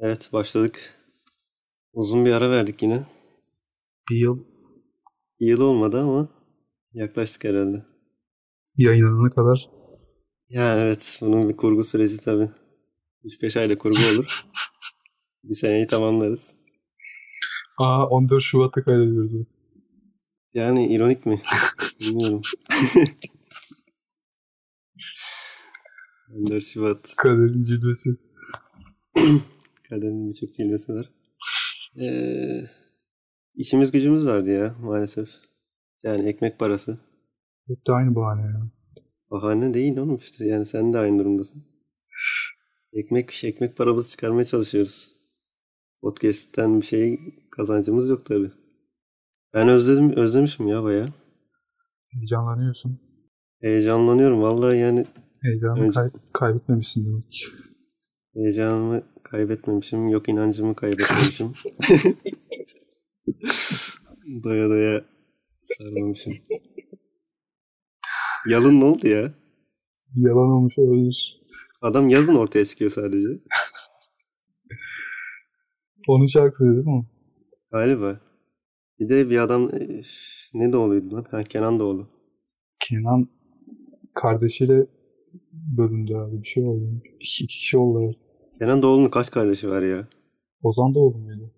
Evet başladık. Uzun bir ara verdik yine. Bir yıl Bir Yıl olmadı ama yaklaştık herhalde. yayınlanana kadar Ya evet bunun bir kurgu süreci tabii. 3-5 ayda kurgu olur. bir seneyi tamamlarız. Aa 14 Şubat'ta kaydediyoruz. Yani ironik mi? Bilmiyorum. 14 Şubat. Kaderin cilvesi. Kaderin birçok cilvesi var. Ee, işimiz gücümüz vardı ya maalesef. Yani ekmek parası. hep de aynı bahane ya. Bahane değil oğlum işte. Yani sen de aynı durumdasın. Ekmek ekmek paramızı çıkarmaya çalışıyoruz. Podcast'ten bir şey kazancımız yok tabii. Ben özledim özlemişim ya bayağı. Heyecanlanıyorsun. Heyecanlanıyorum vallahi yani Heyecanı Evet. kay- kaybetmemişsin demek ki. heyecanımı kaybetmemişim. Yok inancımı kaybetmemişim. doya doya sarmamışım. Yalın ne oldu ya? Yalan olmuş olabilir. Adam yazın ortaya çıkıyor sadece. Onun şarkısı değil mi? Galiba. Bir de bir adam üf, ne doğuluydu lan? Ha, Kenan Doğulu. Kenan kardeşiyle bölündü abi. Bir şey oldu. İki, iki kişi oldular. Kenan Doğulu'nun kaç kardeşi var ya? Ozan da oldu muydu?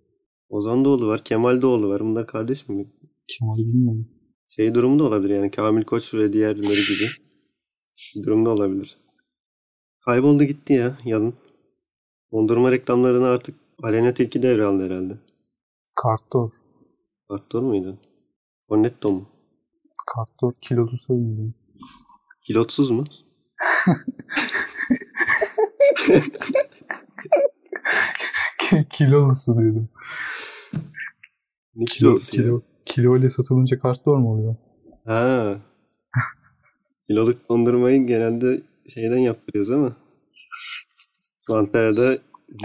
Ozan Doğulu var, Kemal Doğulu var. Bunlar kardeş mi? Kemal'i bilmiyorum. Şey durumu da olabilir yani Kamil Koç ve diğerleri gibi. Bir durum da olabilir. Kayboldu gitti ya yalın. Dondurma reklamlarını artık Aleyna Tilki devraldı herhalde. Kartor. Arttı muydu? Cornetto mu? Kartor kilolu söylüyorum. Kilotsuz mu? Kilolusu dedim. Ne Kilo, kilosu ya? kilo, kilo ile satılınca kartor mu oluyor? Ha. Kiloluk dondurmayı genelde şeyden yaptırıyoruz ama şu Antalya'da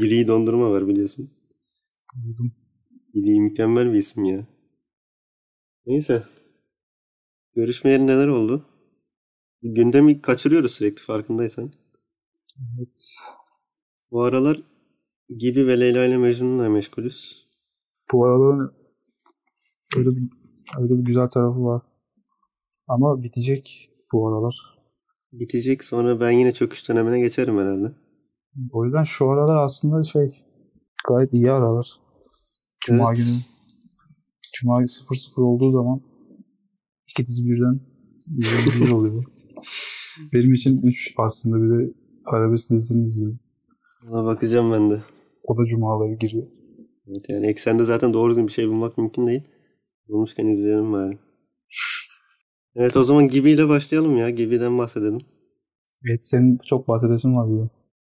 Gili dondurma var biliyorsun. Duydum. Gili mükemmel bir isim ya. Neyse. Görüşmeyeli neler oldu? Gündemi kaçırıyoruz sürekli farkındaysan. Evet. Bu aralar Gibi ve Leyla ile Mecnun'la meşgulüz. bu araların öyle bir, öyle bir güzel tarafı var. Ama bitecek bu aralar. Bitecek sonra ben yine çöküş dönemine geçerim herhalde. O yüzden şu aralar aslında şey gayet iyi aralar. Cuma Evet. günü. Cuma 0-0 olduğu zaman iki dizi birden izlenebilir oluyor. Benim için 3 aslında bir de arabesk dizisini izliyorum. Ona bakacağım ben de. O da cumaları giriyor. Evet yani eksende zaten doğru düzgün bir şey bulmak mümkün değil. Bulmuşken izleyelim bari. Evet o zaman Gibi'yle başlayalım ya. Gibi'den bahsedelim. Evet senin çok bahsedesin var diyor.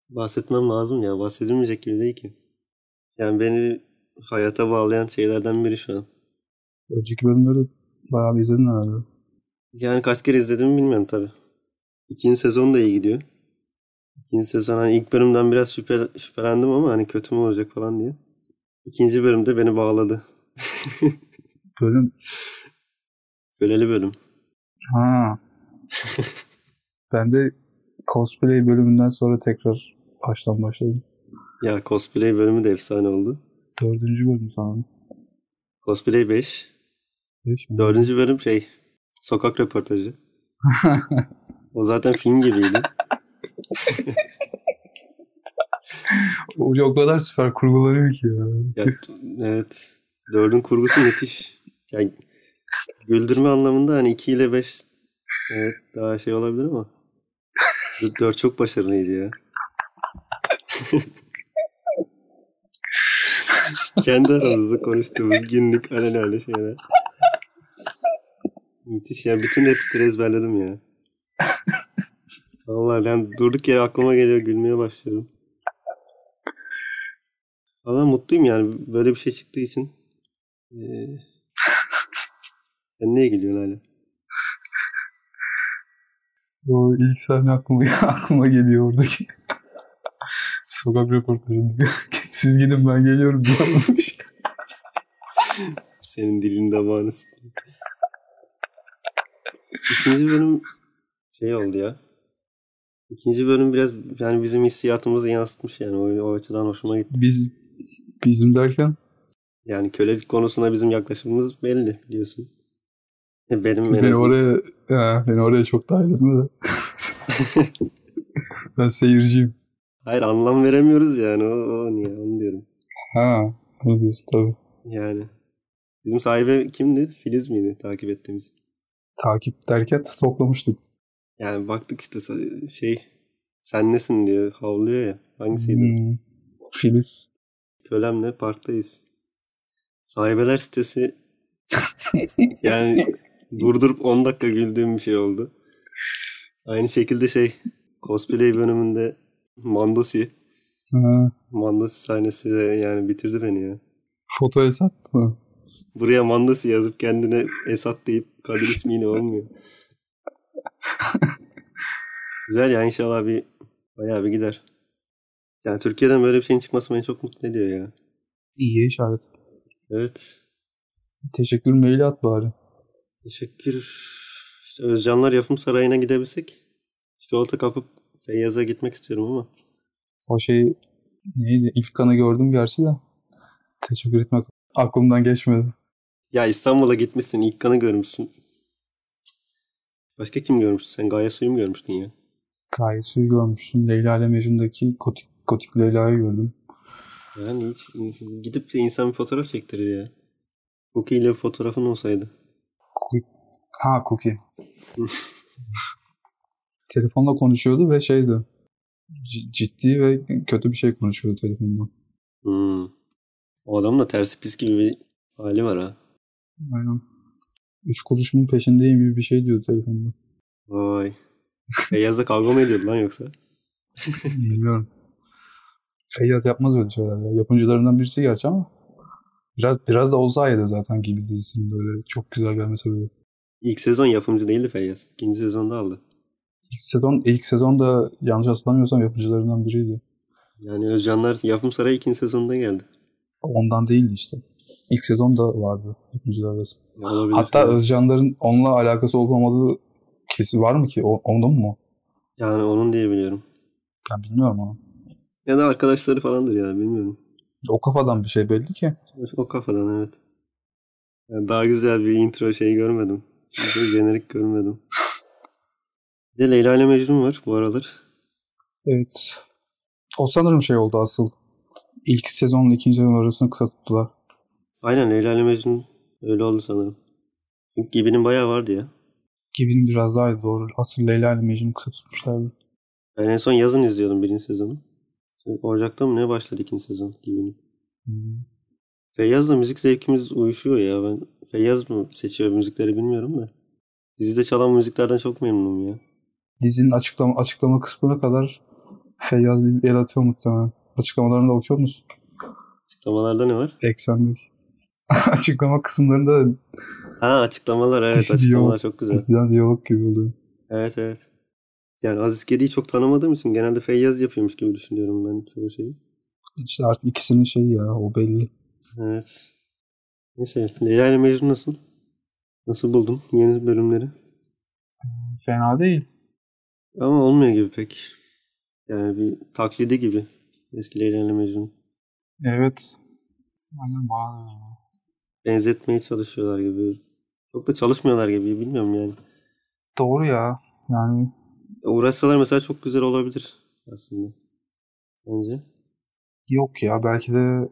Bahsetmem lazım ya. Bahsedilmeyecek gibi değil ki. Yani beni hayata bağlayan şeylerden biri şu an. Önceki bölümleri bayağı bir izledin herhalde. Yani kaç kere izlediğimi bilmiyorum tabii. İkinci sezon da iyi gidiyor. İkinci sezon hani ilk bölümden biraz şüphe, şüphelendim ama hani kötü mü olacak falan diye. İkinci bölümde beni bağladı. Bölüm Köleli bölüm. Ha. ben de cosplay bölümünden sonra tekrar baştan başladım. Ya cosplay bölümü de efsane oldu. Dördüncü bölüm sanırım. Cosplay 5. Beş mi? Dördüncü bölüm şey sokak röportajı. O zaten film gibiydi. O o kadar süper kurgulanıyor ki ya. Ya, evet. Dördün kurgusu müthiş. Yani güldürme anlamında hani 2 ile 5 evet, daha şey olabilir ama dö- dört çok başarılıydı ya. Kendi aramızda konuştuğumuz günlük alelade şeyler. Müthiş ya. Bütün replikleri ezberledim ya. Vallahi ben durduk yere aklıma geliyor. Gülmeye başlıyorum. Valla mutluyum yani böyle bir şey çıktığı için. Ee, sen niye gülüyorsun hala? O ilk sahne aklıma, aklıma geliyor oradaki. Sokak röportajında. Siz gidin ben geliyorum diyormuş. Senin dilin damağını sıkıyor. İkinci bölüm şey oldu ya. İkinci bölüm biraz yani bizim hissiyatımızı yansıtmış yani o, o açıdan hoşuma gitti. Biz bizim derken Yani kölelik konusuna bizim yaklaşımımız belli biliyorsun. E, Benim en beni azından. oraya ha, beni oraya çok dahil etme de. ben seyirciyim. Hayır anlam veremiyoruz yani o, o niye onu diyorum. Ha, onu diyorsun tabii. Yani bizim sahibi kimdi? Filiz miydi takip ettiğimiz? Takip derken stoklamıştık. Yani baktık işte sa- şey sen nesin diye havlıyor ya. Hangisiydi? Hmm, Filiz. Kölemle parktayız. Sahibeler sitesi yani durdurup 10 dakika güldüğüm bir şey oldu. Aynı şekilde şey cosplay bölümünde Mandosi. Ha, Mandosi sahnesi de yani bitirdi beni ya. foto hesap mı? Buraya Mandosi yazıp kendine Esat deyip Kadir ismiyle olmuyor. Güzel ya inşallah bir bayağı bir gider. Yani Türkiye'den böyle bir şeyin çıkması beni çok mutlu ediyor ya. İyi işaret. Evet. Teşekkür maili at bari. Teşekkür. İşte Özcanlar Yapım Sarayı'na gidebilsek. Çikolata kapıp Feyyaz'a gitmek istiyorum ama. O şey neydi? İlk kanı gördüm gerçi de. Teşekkür etmek aklımdan geçmedi. Ya İstanbul'a gitmişsin. ilk kanı görmüşsün. Başka kim görmüştün? Sen Gaye Su'yu mu görmüştün ya? Gayet suyu görmüşsün. Leyla ile Mecnun'daki gotik, gotik Leyla'yı gördüm. Yani hiç ins- gidip de insan bir fotoğraf çektirir ya. Cookie ile bir fotoğrafın olsaydı. Ha Cookie. Telefonla konuşuyordu ve şeydi. C- ciddi ve kötü bir şey konuşuyordu telefonda. Hmm. O adamın da tersi pis gibi bir hali var ha. Aynen. Üç kuruşumun peşindeyim gibi bir şey diyordu telefonda. Vay. Feyyaz'la kavga mı ediyordu lan yoksa? Bilmiyorum. Feyyaz yapmaz öyle şeyler ya. Yapımcılarından birisi gerçi ama biraz biraz da o sayede zaten gibi dizisinin böyle çok güzel gelme sebebi. İlk sezon yapımcı değildi Feyyaz. İkinci sezonda aldı. İlk sezon ilk sezon da yanlış hatırlamıyorsam yapımcılarından biriydi. Yani Özcanlar Yapım Sarayı ikinci sezonda geldi. Ondan değildi işte. İlk sezon da vardı yapımcılar arasında. Olabilir. Hatta Özcanların onunla alakası olup olmadığı kesin var mı ki? O, ondan mı? yani onun diye biliyorum. Ben bilmiyorum ama. Ya da arkadaşları falandır ya bilmiyorum. O kafadan bir şey belli ki. O kafadan evet. Yani daha güzel bir intro şey görmedim. Bir de jenerik görmedim. Bir de Leyla ile Mecnun var bu aralar. Evet. O sanırım şey oldu asıl. İlk sezonla ikinci sezon arasını kısa tuttular. Aynen Leyla ile Mecnun öyle oldu sanırım. Çünkü Gibi'nin bayağı vardı ya. Gibinin biraz daha doğru. Asıl Leyla ile Mecnun'u kısa tutmuşlardı. Ben en son yazın izliyordum birinci sezonu. Şimdi Ocak'ta mı ne başladı ikinci sezon Gibi'nin. Hmm. Feyyaz'la müzik zevkimiz uyuşuyor ya. Ben Feyyaz mı seçiyor müzikleri bilmiyorum da. Dizide çalan müziklerden çok memnunum ya. Dizinin açıklama, açıklama kısmına kadar Feyyaz bir el atıyor muhtemelen. Açıklamalarını da okuyor musun? Açıklamalarda ne var? Eksendeki. Açıklama kısımlarında Ha açıklamalar evet Diyor. açıklamalar çok güzel. eskiden diyalog gibi oluyor. Evet evet. Yani Aziz Kedi'yi çok tanımadığım için genelde Feyyaz yapıyormuş gibi düşünüyorum ben çoğu şeyi. İşte artık ikisinin şeyi ya o belli. Evet. Neyse Leyla ile Mecnun nasıl? Nasıl buldum yeni bölümleri? Fena değil. Ama olmuyor gibi pek. Yani bir taklidi gibi. Eski Leyla ile Mecnun. Evet. Aynen bana da öyle. Benzetmeye çalışıyorlar gibi. Çok da çalışmıyorlar gibi bilmiyorum yani. Doğru ya. Yani Uğraşsalar mesela çok güzel olabilir aslında. Bence. yok ya belki de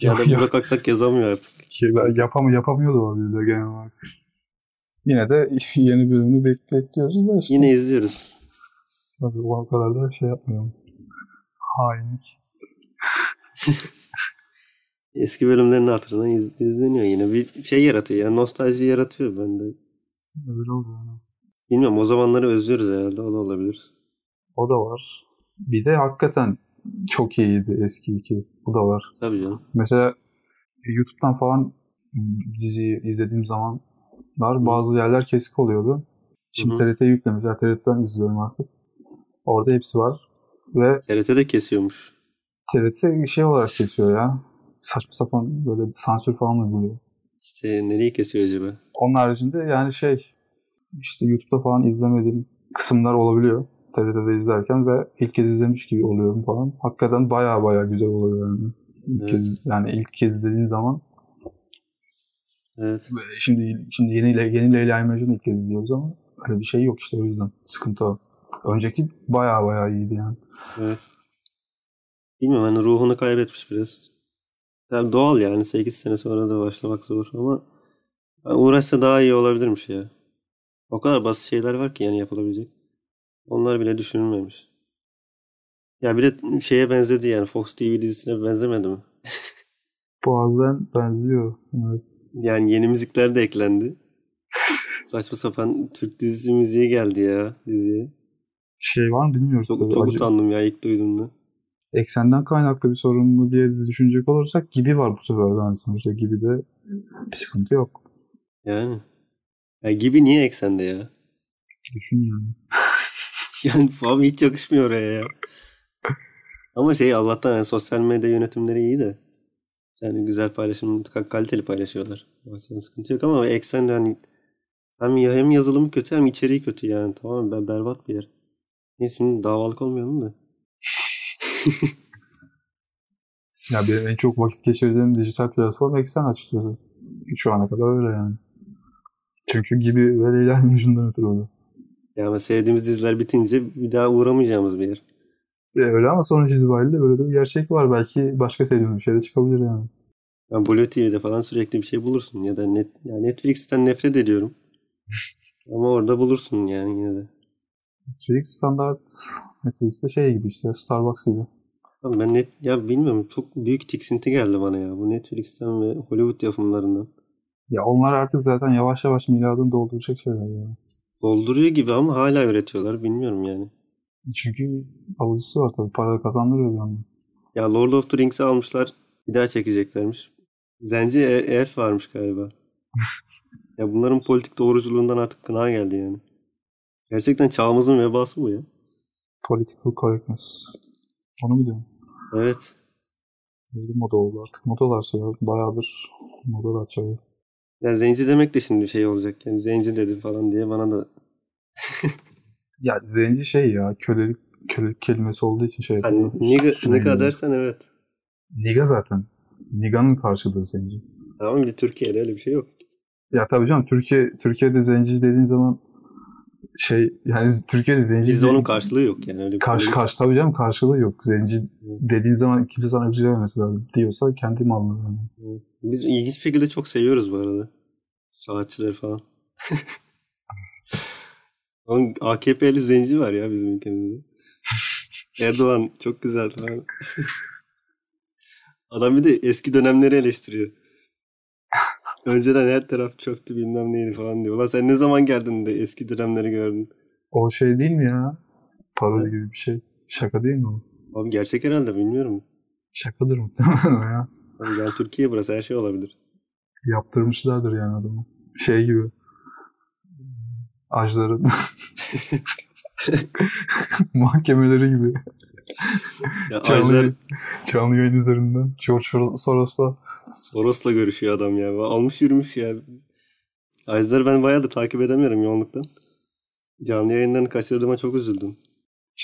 Ya da Ya- Burak Aksak yazamıyor artık. Şey, yapam yapamıyordu o de genel olarak. Yine de yeni bölümünü bek- bekliyoruz da işte. Yine izliyoruz. Tabii o kadar da şey yapmıyorum. Hainlik. Eski bölümlerin hatırına iz- izleniyor yine. Bir şey yaratıyor yani nostalji yaratıyor bende. Öyle oluyor. yani. Bilmiyorum o zamanları özlüyoruz herhalde o da olabilir. O da var. Bir de hakikaten çok iyiydi eski iki. Bu da var. Tabii canım. Mesela e, YouTube'dan falan diziyi izlediğim zamanlar bazı yerler kesik oluyordu. Şimdi Hı TRT'ye yüklemişler. TRT'den izliyorum artık. Orada hepsi var. Ve TRT de kesiyormuş. TRT şey olarak kesiyor ya. Saçma sapan böyle sansür falan uyguluyor. İşte nereyi kesiyor acaba? Onun haricinde yani şey işte YouTube'da falan izlemediğim kısımlar olabiliyor. TRT'de izlerken ve ilk kez izlemiş gibi oluyorum falan. Hakikaten baya baya güzel oluyor yani. İlk Evet. kez yani ilk kez izlediğin zaman Evet. Ve şimdi şimdi yeni Le- yeni Leyla ile Mecnun'u ilk kez izliyoruz ama öyle bir şey yok işte o yüzden sıkıntı o. Önceki baya baya iyiydi yani. Evet. Bilmiyorum hani ruhunu kaybetmiş biraz. Yani doğal yani 8 sene sonra da başlamak zor ama yani uğraşsa daha iyi olabilirmiş ya. O kadar basit şeyler var ki yani yapılabilecek. Onlar bile düşünülmemiş. Ya bir de şeye benzedi yani Fox TV dizisine benzemedi mi? Bazen benziyor. Evet. Yani yeni müzikler de eklendi. Saçma sapan Türk dizisi müziği geldi ya diziye. Şey var mı bilmiyoruz. Çok, tabii. çok Acı- utandım ya ilk duyduğumda. Eksenden kaynaklı bir sorun mu diye de düşünecek olursak gibi var bu sefer de hani sonuçta gibi de bir sıkıntı yok. Yani. Ya gibi niye eksende ya? Düşün yani. Yani falan hiç yakışmıyor oraya ya. Ama şey Allah'tan yani sosyal medya yönetimleri iyi de. Yani güzel paylaşım, ka- kaliteli paylaşıyorlar. O yüzden sıkıntı yok ama eksen de hani hem, ya- hem yazılımı kötü hem içeriği kötü yani. Tamam ben berbat bir yer. Neyse şimdi davalık olmayalım da. Ya benim en çok vakit geçirdiğim dijital platform eksen açıkçası. Şu ana kadar öyle yani. Çünkü gibi ve Leyla ile Mecnun'dan ötürü oldu. Yani sevdiğimiz diziler bitince bir daha uğramayacağımız bir yer. E, öyle ama sonuç itibariyle böyle de bir gerçek var. Belki başka sevdiğim bir şey de çıkabilir yani. Yani Blue TV'de falan sürekli bir şey bulursun ya da net, yani Netflix'ten nefret ediyorum. Ama orada bulursun yani yine de. Netflix standart Netflix'te şey gibi işte Starbucks gibi. Abi ben net ya bilmiyorum çok büyük tiksinti geldi bana ya. Bu Netflix'ten ve Hollywood yapımlarından. Ya onlar artık zaten yavaş yavaş miladını dolduracak şeyler yani. Dolduruyor gibi ama hala üretiyorlar bilmiyorum yani. Çünkü alıcısı var tabii. Para da kazandırıyor bir yandan. Ya Lord of the Rings'i almışlar bir daha çekeceklermiş. Zenci e- elf varmış galiba. ya bunların politik doğruculuğundan artık kına geldi yani. Gerçekten çağımızın vebası bu ya. Political correctness. Onu mu diyorum? Evet. Öyle moda oldu artık. Modalar şey ya. Bayağıdır modalar çağırıyor. Ya zenci demek de şimdi şey olacak yani zenci dedi falan diye bana da Ya zenci şey ya. Kölelik, kölelik kelimesi olduğu için şey. hani yapıyor. niga, Sürekli. niga dersen evet. Niga zaten. Niga'nın karşılığı zenci. Ama bir Türkiye'de öyle bir şey yok. Ya tabii canım Türkiye Türkiye'de zenci dediğin zaman şey yani Türkiye'de zenci Bizde onun dediğin- karşılığı yok yani öyle bir karşı şey. karşı tabii canım karşılığı yok. Zenci dediğin zaman kimse sana bir şey dememesi lazım diyorsa kendi malını yani. Biz ilginç bir şekilde çok seviyoruz bu arada. Saatçileri falan. Oğlum AKP'li zenci var ya bizim ülkemizde. Erdoğan çok güzel falan. Adam bir de eski dönemleri eleştiriyor. Önceden her taraf çöptü bilmem neydi falan diyor. Ulan sen ne zaman geldin de eski dönemleri gördün. O şey değil mi ya? Parodi gibi bir şey. Şaka değil mi o? Abi gerçek herhalde bilmiyorum. Şakadır muhtemelen o ya. Abi yani Türkiye burası her şey olabilir. Yaptırmışlardır yani adamı. Şey gibi. Ajların mahkemeleri gibi. Ya Canlı, Ajder canlı yayın üzerinden. George Sor- Soros'la Soros'la görüşüyor adam ya. Almış yürümüş ya. Ajder'i ben bayağıdır takip edemiyorum yoğunluktan. Canlı yayınlarını kaçırdığıma çok üzüldüm.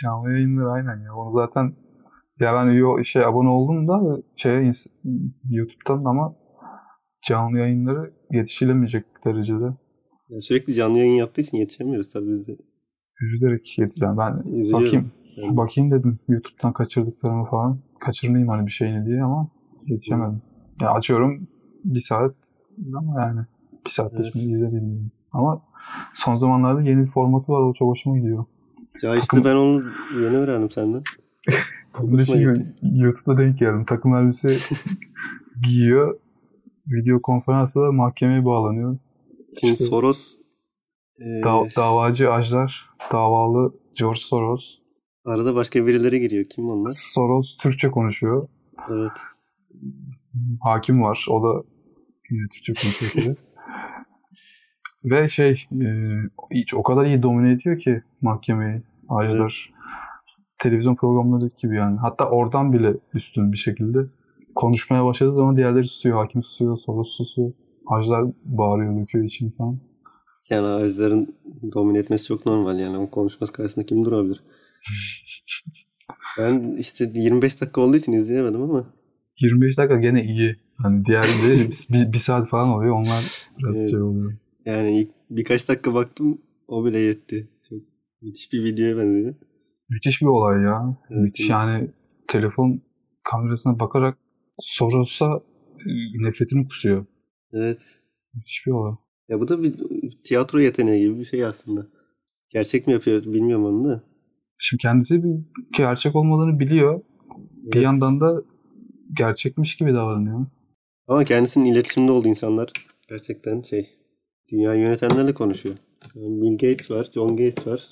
Canlı yayınları aynen ya. Onu zaten ya ben yo, şey abone oldum da şey YouTube'dan ama canlı yayınları yetişilemeyecek derecede Ya sürekli canlı yayın yaptığı için yetişemiyoruz tabii biz de. üzülerek yetişilen. Ben Üzülüyorum. bakayım Yani bakayım dedim YouTube'dan kaçırdıklarımı falan. Kaçırmayayım hani bir şeyini diye ama yetişemedim. Yani açıyorum bir saat ama yani bir saatte Evet. şimdi izlerim. yani. Ama son zamanlarda yeni bir formatı var. O çok hoşuma gidiyor. Ya işte ben onu yeni öğrendim senden. Bunun için Hoşuma şey YouTube'da denk geldim. Takım elbise giyiyor. Video konferansla da mahkemeye bağlanıyor. Şimdi İşte- Soros e, Da- davacı Ajdar, davalı George Soros. arada başka birileri giriyor. Kim onlar? Soros Türkçe konuşuyor. Evet. Hakim var. O da yine Türkçe konuşuyor. tabii. Ve şey e, hiç o kadar iyi domine ediyor ki mahkemeyi Ajdar. Televizyon programları gibi yani. Hatta oradan bile üstün bir şekilde. Konuşmaya başladığı zaman diğerleri susuyor. Hakim susuyor, Soros susuyor. Ajdar bağırıyor, döküyor için falan. Yani ağaçların domine etmesi çok normal yani. O konuşması karşısında kim durabilir? ben işte 25 dakika olduğu için izleyemedim ama 25 dakika gene iyi. Hani diğerleri bir, bir saat falan oluyor. Onlar biraz Evet. şey oluyor. yani ilk birkaç dakika baktım o bile yetti. Çok müthiş bir videoya benziyor. Müthiş bir olay ya. Evet, Müthiş evet. yani telefon kamerasına bakarak Soros'a e, nefretini kusuyor. Evet. Müthiş bir olay. Ya bu da bir tiyatro yeteneği gibi bir şey aslında. Gerçek mi yapıyor bilmiyorum onu da. Şimdi kendisi bir gerçek olmadığını biliyor. Bir Evet. yandan da gerçekmiş gibi davranıyor. Ama kendisinin iletişimde olduğu insanlar gerçekten şey dünyayı yönetenlerle konuşuyor. Yani Bill Gates var, John Gates var.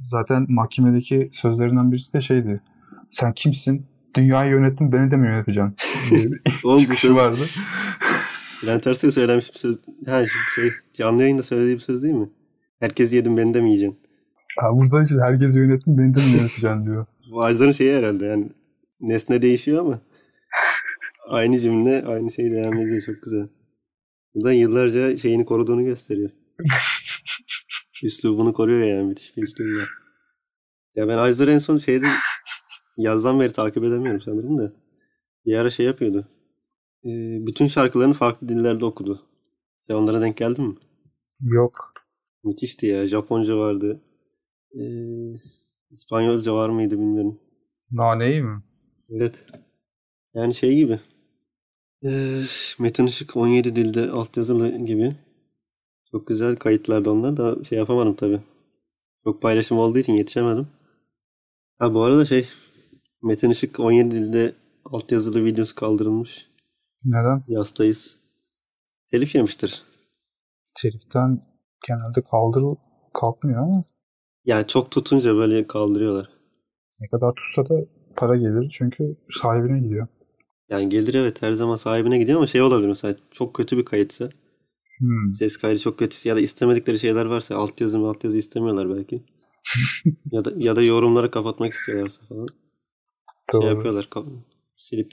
Zaten mahkemedeki sözlerinden birisi de şeydi. Sen kimsin? Dünyayı yönettin beni de mi yöneteceksin? diye bir Oğlum bu çıkışı söz vardı. Bülent Ersoy söylemiş bir söz. Ha şey canlı yayında söylediği bir söz değil mi? Herkes yedim beni de mi yiyeceksin? Ha, burada işte herkesi yönettin beni de mi yöneteceksin diyor. Bu ağaçların şeyi herhalde yani nesne değişiyor ama aynı cümle aynı şey devam ediyor. Çok güzel. Buradan yıllarca şeyini koruduğunu gösteriyor. Üslubunu koruyor yani müthiş bir üslubu var. Ya ben ağaçları en son şeyde yazdan beri takip edemiyorum sanırım da. Bir ara şey yapıyordu. Ee, Bütün şarkılarını farklı dillerde okudu. Sen onlara denk geldin mi? Yok. Müthişti ya. Japonca vardı. Ee, İspanyolca var mıydı bilmiyorum. Naneyi mi? Evet. Yani şey gibi. Ee, Metin Işık 17 dilde altyazılı gibi. Çok güzel kayıtlardı onlar da şey yapamadım tabii. Çok paylaşım olduğu için yetişemedim. Ha bu arada şey Metin Işık 17 dilde altyazılı videosu kaldırılmış. Neden? Yastayız. Telif yemiştir. Teliften genelde kaldır kalkmıyor ama Yani çok tutunca böyle kaldırıyorlar. ne kadar tutsa da para gelir çünkü sahibine gidiyor. Yani gelir evet her zaman sahibine gidiyor ama şey olabilir mesela çok kötü bir kayıtsa. Hmm. Ses kaydı çok kötüsü ya da istemedikleri şeyler varsa altyazı mı altyazı istemiyorlar belki. ya da ya da yorumları kapatmak istiyorlarsa falan. Şey Doğru. yapıyorlar kap- silip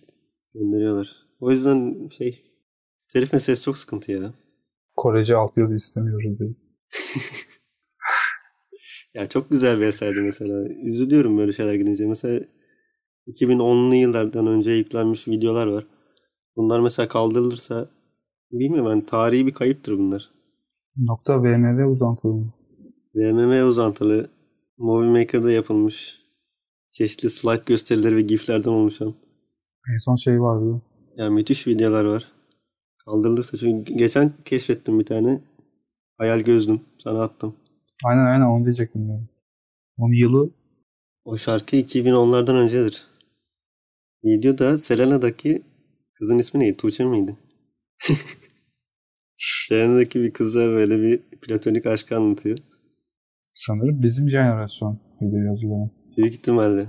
gönderiyorlar. O yüzden şey telif meselesi çok sıkıntı ya. Korece altyazı istemiyoruz diye. Ya çok güzel bir eserdi mesela. Üzülüyorum böyle şeyler gidince. Mesela 2010'lu yıllardan önce yüklenmiş videolar var. Bunlar mesela kaldırılırsa bilmiyorum ben tarihi bir kayıptır bunlar. Nokta VMV uzantılı mı? VMM uzantılı Movie Maker'da yapılmış çeşitli slide gösterileri ve giflerden oluşan En son şey vardı. yani müthiş videolar var. Kaldırılırsa çünkü geçen keşfettim bir tane. Hayal gözlüm. Sana attım. Aynen aynen onu diyecektim. Yani. Onun yılı O şarkı 2010'lardan öncedir. Videoda Selena'daki kızın ismi neydi? Tuğçe miydi? Selena'daki bir kıza böyle bir platonik aşkı anlatıyor. sanırım bizim jenerasyon gibi yazılıyor. Büyük ihtimalle.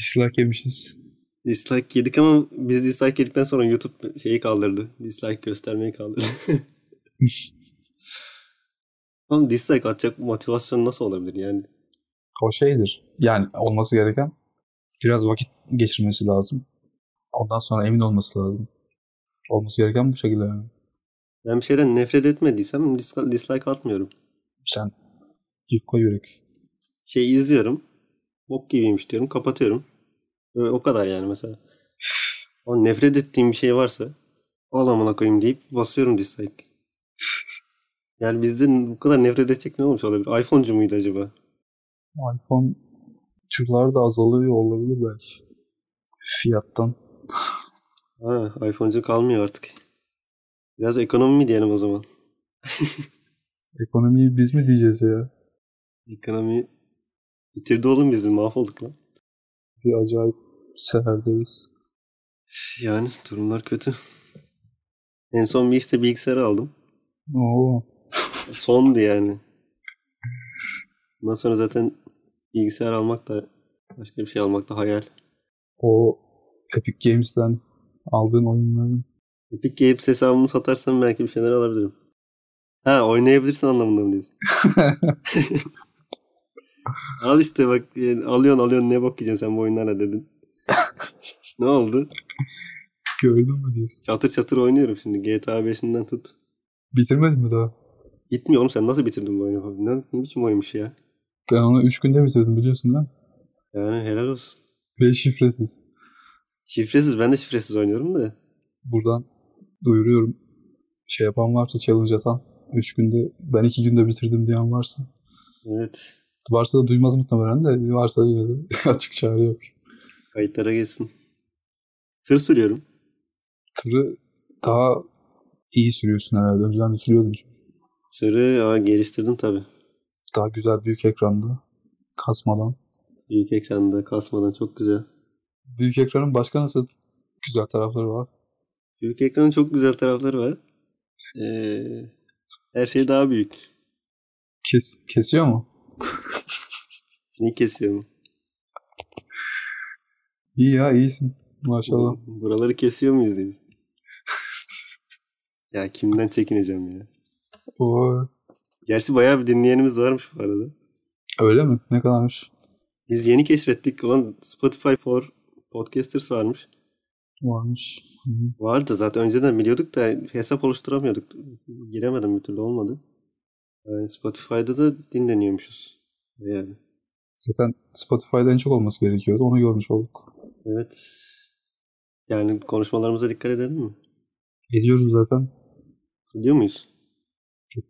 Dislike yemişiz. Dislike yedik ama biz dislike yedikten sonra YouTube şeyi kaldırdı. Dislike göstermeyi kaldırdı. Oğlum dislike atacak motivasyon nasıl olabilir yani? O şeydir. Yani olması gereken biraz vakit geçirmesi lazım. Ondan sonra emin olması lazım. Olması gereken bu şekilde. yani. Ben bir şeyden nefret etmediysem dislike, dislike atmıyorum. Sen yufka yürek. Şey izliyorum. Bok gibiymiş diyorum. Kapatıyorum. Ve o kadar yani mesela. O nefret ettiğim bir şey varsa al amına koyayım deyip basıyorum dislike. Yani bizde bu kadar nefret edecek ne olmuş olabilir? iPhone'cu muydu acaba? iPhone çurlar da azalıyor olabilir belki. Fiyattan. Ha, iPhone'cu kalmıyor artık. Biraz ekonomi mi diyelim o zaman? Ekonomiyi biz mi diyeceğiz ya? Ekonomi bitirdi oğlum bizi mahvolduk lan. Bir acayip seherdeyiz. Yani durumlar kötü. En son bir işte bilgisayarı aldım. Oo. Sondu yani. Bundan sonra zaten bilgisayar almak da başka bir şey almak da hayal. O Epic Games'ten aldığın oyunların Epic Games hesabımı satarsam belki bir şeyler alabilirim. Ha oynayabilirsin anlamında mı diyorsun? Al işte bak yani alıyorsun alıyorsun ne bok yiyeceksin sen bu oyunlarla dedin. ne oldu? Gördün mü diyorsun? Çatır çatır oynuyorum şimdi GTA 5'inden tut. Bitirmedin mi daha? Gitmiyor oğlum sen nasıl bitirdin bu oyunu falan? Ne, ne biçim oymuş ya? Ben onu 3 günde bitirdim biliyorsun ha? Yani helal olsun. Ve şifresiz. Şifresiz ben de şifresiz oynuyorum da. Buradan duyuruyorum. Şey yapan varsa challenge atan 3 günde ben 2 günde bitirdim diyen varsa. Evet. Varsa da duymaz muhtemelen de varsa yine de açık çağrı yapıyor. Kayıtlara geçsin. Tır sürüyorum. Tırı daha iyi sürüyorsun herhalde. Önceden de sürüyordun çünkü. Tırı aa, geliştirdim tabii. Daha güzel büyük ekranda. Kasmadan. Büyük ekranda kasmadan çok güzel. Büyük ekranın başka nasıl güzel tarafları var? Büyük ekranın çok güzel tarafları var. Ee, her şey daha büyük. Kes, kesiyor mu? Niye kesiyorum? İyi ya iyisin. Maşallah. Buraları kesiyor muyuz diye. ya kimden çekineceğim ya. Oo. Gerçi bayağı bir dinleyenimiz varmış bu arada. Öyle mi? Ne kadarmış? Biz yeni keşfettik. Ulan Spotify for Podcasters varmış. Varmış. Hı. Vardı zaten önceden biliyorduk da hesap oluşturamıyorduk. Giremedim bir türlü olmadı. Yani Spotify'da da dinleniyormuşuz. Yani. Zaten Spotify'da en çok olması gerekiyordu. Onu görmüş olduk. Evet. Yani konuşmalarımıza dikkat edelim mi? Ediyoruz zaten. Biliyor muyuz?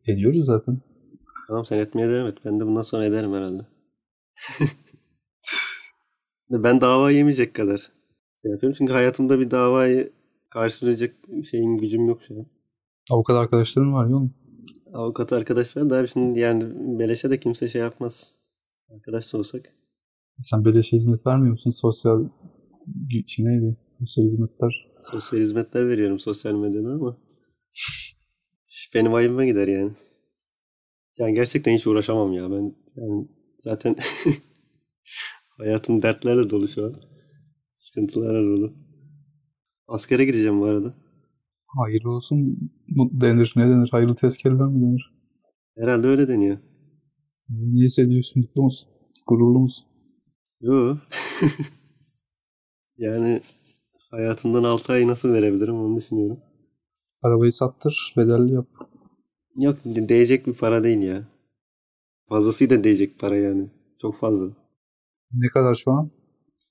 Ediyoruz zaten. Tamam sen etmeye devam et. Ben de bundan sonra ederim herhalde. ben dava yemeyecek kadar şey yapıyorum. Çünkü hayatımda bir davayı karşılayacak şeyin gücüm yok şu an. Avukat arkadaşların var ya oğlum. Avukat arkadaş var da abi şimdi yani beleşe de kimse şey yapmaz. Arkadaş da olsak. Sen beleşe hizmet vermiyor musun? Sosyal şey neydi? Sosyal hizmetler. Sosyal hizmetler veriyorum sosyal medyada ama benim ayıbıma gider yani. Yani gerçekten hiç uğraşamam ya. Ben yani zaten hayatım dertlerle dolu şu an. Sıkıntılarla dolu. Askere gideceğim bu arada. Hayırlı olsun mu- denir. Ne denir? Hayırlı tezkereler mi denir? Herhalde öyle deniyor. Niye seviyorsun? Mutlu musun? Gururlu musun? Yo. yani hayatımdan 6 ay nasıl verebilirim onu düşünüyorum. Arabayı sattır. Bedelli yap. Yok de- değecek bir para değil ya. Fazlasıyla değecek para yani. Çok fazla. Ne kadar şu an?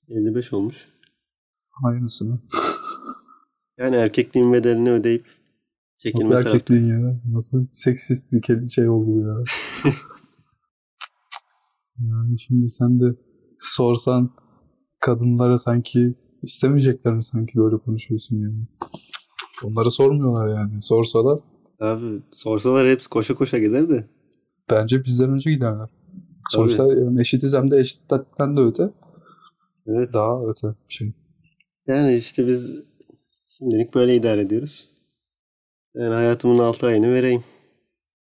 55 olmuş. Aynısını. Yani erkekliğin bedelini ödeyip çekilme Nasıl tarafı. erkekliğin ya? Nasıl seksist bir kel- şey oldu ya? yani şimdi sen de sorsan kadınlara sanki istemeyecekler mi sanki böyle konuşuyorsun yani? Onlara sormuyorlar yani. Sorsalar Abi sorsalar hepsi koşa koşa gider de. bence bizden önce giderler. Sonuçta yani eşitiz hem de eşitlikten de öte. Evet. Daha öte bir şey. Yani işte biz şimdilik böyle idare ediyoruz. Yani hayatımın 6 ayını vereyim.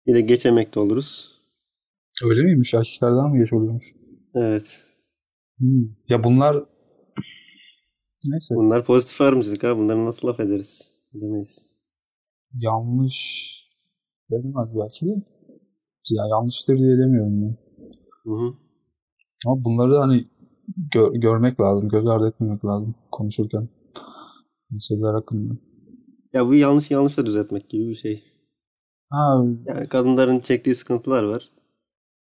Bir de geç emekli oluruz. Öyle miymiş? Erkeklerden mi geç oluyormuş? Evet. Hmm. Ya bunlar neyse Bunlar pozitif ayrımcılık abi. Bunları nasıl laf ederiz? Demeyiz. yanlış denemez belki de. Ya yanlıştır diye demiyorum ben. Hı hı. Ama bunları hani gör- görmek lazım, göz ardı etmemek lazım konuşurken. Meseleler hakkında. Ya bu yanlış yanlış da düzeltmek gibi bir şey. Ha, Yani kadınların çektiği sıkıntılar var.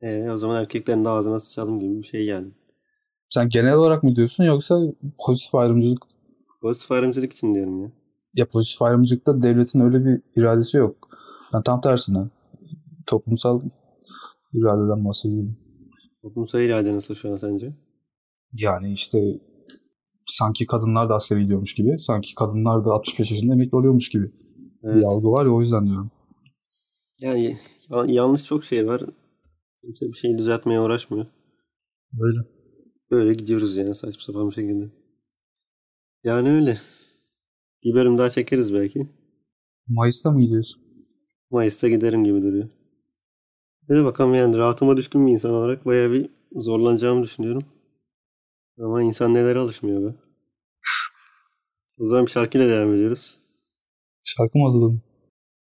E, o zaman erkeklerin de ağzına sıçalım gibi bir şey yani. sen genel olarak mı diyorsun yoksa pozitif ayrımcılık? Pozitif ayrımcılık için diyorum ya. Ya pozitif ayrımcılıkta devletin öyle bir iradesi yok. Yani tam tersine toplumsal iradeden bahsediyorum. Toplumsal irade nasıl şu an sence? Yani işte sanki kadınlar da askere gidiyormuş gibi, sanki kadınlar da 65 yaşında emekli oluyormuş gibi bir Evet. algı var ya o yüzden diyorum. Yani ya- yanlış çok şey var. Kimse bir şeyi düzeltmeye uğraşmıyor. Öyle. Böyle gidiyoruz yani saçma sapan bir şekilde. Yani öyle. Bir bölüm daha çekeriz belki. Mayıs'ta mı gidiyorsun? Mayıs'ta giderim gibi duruyor. Böyle bakalım yani rahatıma düşkün bir insan olarak bayağı bir zorlanacağımı düşünüyorum. Ama insan nelere alışmıyor be. O zaman bir şarkıyla devam ediyoruz. Şarkı mı hazırladın?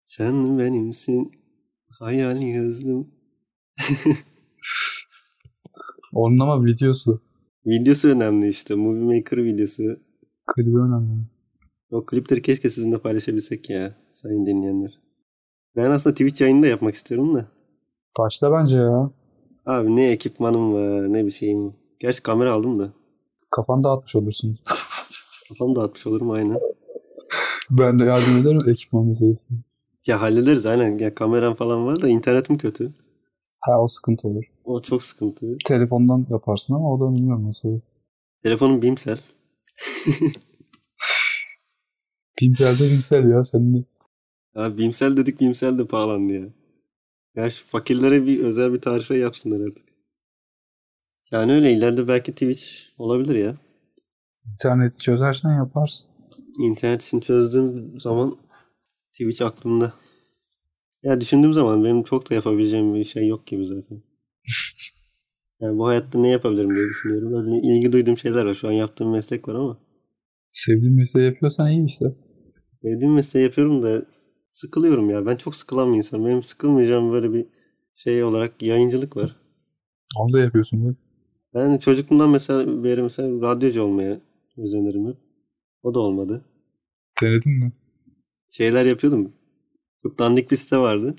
Sen benimsin hayal gözlüm. Onun ama videosu. Videosu önemli işte. Movie Maker videosu. Klibi önemli. O klipleri keşke sizinle paylaşabilsek ya sayın dinleyenler. Ben aslında Twitch yayını da yapmak istiyorum da. Başla bence ya. Abi ne ekipmanım var ne bir şeyim. Gerçi kamera aldım da. Kafanı dağıtmış olursun. Kafam dağıtmış olurum aynen. ben de yardım ederim ekipman meselesi. Ya hallederiz aynen. Ya kameram falan var da internetim kötü. Ha o sıkıntı olur. O çok sıkıntı. Telefondan yaparsın ama o da bilmiyorum nasıl olur. Telefonum Bimsel. Bimsel de Bimsel ya senin de. Abi Bimsel dedik Bimsel de pahalandı ya. Ya şu fakirlere bir özel bir tarife yapsınlar artık. Yani öyle ileride belki Twitch olabilir ya. İnterneti çözersen yaparsın. İnternet için çözdüğüm zaman Twitch aklımda. Ya düşündüğüm zaman benim çok da yapabileceğim bir şey yok gibi zaten. Yani bu hayatta ne yapabilirim diye düşünüyorum. Böyle ilgi duyduğum şeyler var. Şu an yaptığım meslek var ama. Sevdiğin mesleği yapıyorsan iyi işte. Sevdiğim mesleği şey yapıyorum da sıkılıyorum ya. Ben çok sıkılan bir insanım. Benim sıkılmayacağım böyle bir şey olarak yayıncılık var. Onu da yapıyorsun. bak. Ben çocukluğumdan mesela beri mesela radyocu olmaya özenirim hep. O da olmadı. Denedin mi? Şeyler yapıyordum. Çok dandik bir site vardı.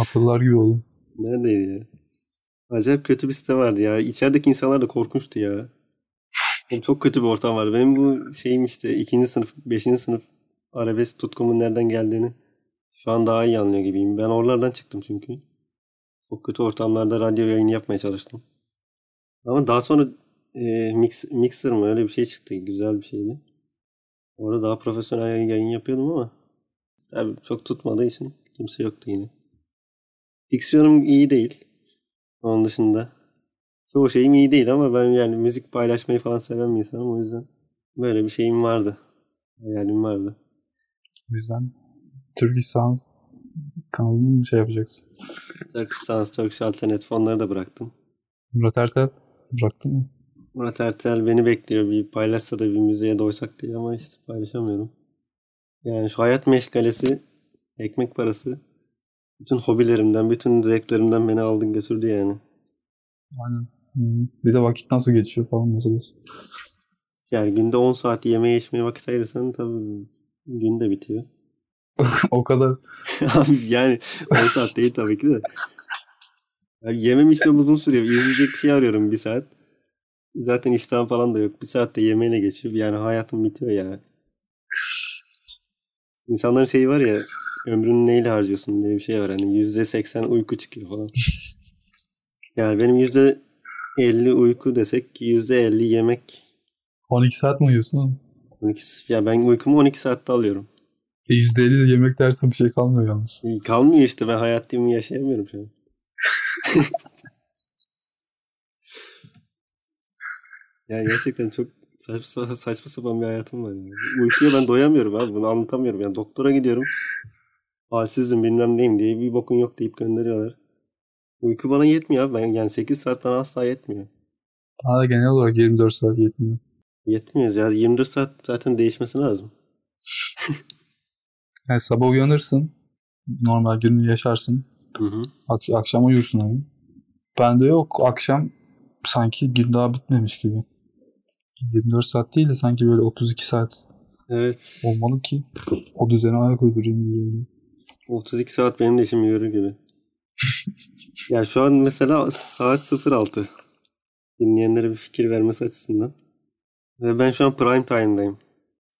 Akıllar gibi oğlum. Neredeydi ya? Acayip kötü bir site vardı ya. İçerideki insanlar da korkunçtu ya. Oğlum Çok kötü bir ortam vardı. Benim bu şeyim işte ikinci sınıf, beşinci sınıf arabesk tutkumun nereden geldiğini şu an daha iyi anlıyor gibiyim. Ben oralardan çıktım çünkü. Çok kötü ortamlarda radyo yayını yapmaya çalıştım. Ama daha sonra e, mix, Mixer mı öyle bir şey çıktı. Güzel bir şeydi. Orada daha profesyonel yayın yapıyordum ama tabii çok tutmadığı için kimse yoktu yine. Diksiyonum iyi değil. Onun dışında. Çoğu şeyim iyi değil ama ben yani müzik paylaşmayı falan seven bir insanım. O yüzden böyle bir şeyim vardı. Hayalim vardı. O yüzden Turkish Sounds kanalını mı şey yapacaksın? Turkish Sounds, Turkish Alternative onları da bıraktım. Murat Ertel bıraktın mı? Murat Ertel beni bekliyor. Bir paylaşsa da bir müziğe doysak diye ama işte paylaşamıyorum. Yani şu hayat meşgalesi, ekmek parası bütün hobilerimden, bütün zevklerimden beni aldı götürdü yani. Aynen. Hı. Bir de vakit nasıl geçiyor falan meselesi. Yani günde 10 saat yemeğe içmeye vakit ayırırsan tabii gün de bitiyor. o kadar Abi yani 10 saat değil tabii ki de. Abi yemem içmem uzun sürüyor. İzleyecek bir şey arıyorum bir saat. Zaten iştahım falan da yok. Bir saatte yemeğine geçiyor. Yani hayatım bitiyor ya. İnsanların şeyi var ya ömrünü neyle harcıyorsun diye bir şey var. Hani yüzde seksen uyku çıkıyor falan. Yani benim yüzde elli uyku desek yüzde elli yemek. 12 saat mi uyuyorsun oğlum? 12, ya ben uykumu 12 saatte alıyorum. E %50 de yemek dersen bir şey kalmıyor yalnız. İyi, Kalmıyor işte ben hayatımı yaşayamıyorum şu an. ya gerçekten çok saçma, sa- saçma sapan bir hayatım var ya. Uykuya ben doyamıyorum abi bunu anlatamıyorum. Yani doktora gidiyorum. Halsizim bilmem neyim diye bir bokun yok deyip gönderiyorlar. Uyku bana yetmiyor abi. Ben, yani 8 saat bana asla yetmiyor. Bana da genel olarak 24 saat yetmiyor. Yetmiyor ya. 24 saat zaten değişmesi lazım. Yani sabah uyanırsın. Normal gününü yaşarsın. Hı hı. Ak- akşam uyursun abi. Bende yok. Akşam sanki gün daha bitmemiş gibi. 24 saat değil de sanki böyle 32 saat Evet. olmalı ki o düzene ayak uydurayım gibi. geliyor. 32 saat benim de işimi görür gibi. ya şu an mesela saat 06. Dinleyenlere bir fikir vermesi açısından. Ve ben şu an prime time'dayım.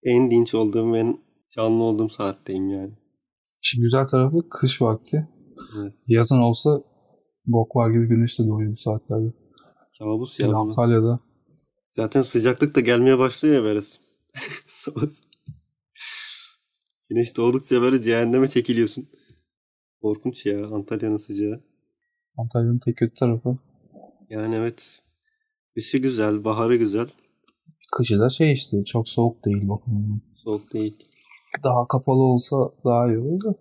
En dinç olduğum, en canlı olduğum saatteyim yani. Şimdi güzel tarafı kış vakti. Evet. Yazın olsa bok var gibi güneş de doğuyor bu saatlerde. Kabus ya. Ya, bu. Antalya'da Zaten sıcaklık da gelmeye başlıyor ya böyle. Güneş doğdukça böyle cehenneme çekiliyorsun. Korkunç ya Antalya'nın sıcağı. Antalya'nın tek kötü tarafı. Yani evet. Kışı güzel, baharı güzel. Kışı da şey işte çok soğuk değil bakımından. Soğuk değil. Daha kapalı olsa daha iyi olur da.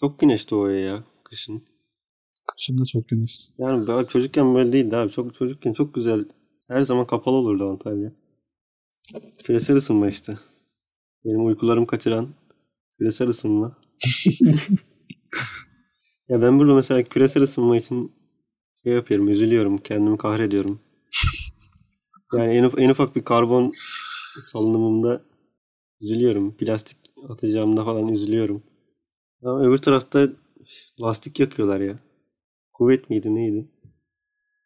Çok güneş doğuyor ya kışın. Kışın da çok güneş. Yani ben çocukken böyle değildi abi. Çok çocukken çok güzel. Her zaman kapalı olurdu Antalya. Küresel ısınma işte. Benim uykularım kaçıran küresel ısınma. ya ben burada mesela küresel ısınma için şey yapıyorum, üzülüyorum, kendimi kahrediyorum. Yani en, uf- en ufak bir karbon salınımımda üzülüyorum. Plastik atacağımda falan üzülüyorum. Ama öbür tarafta lastik yakıyorlar ya. Kuvvet miydi neydi?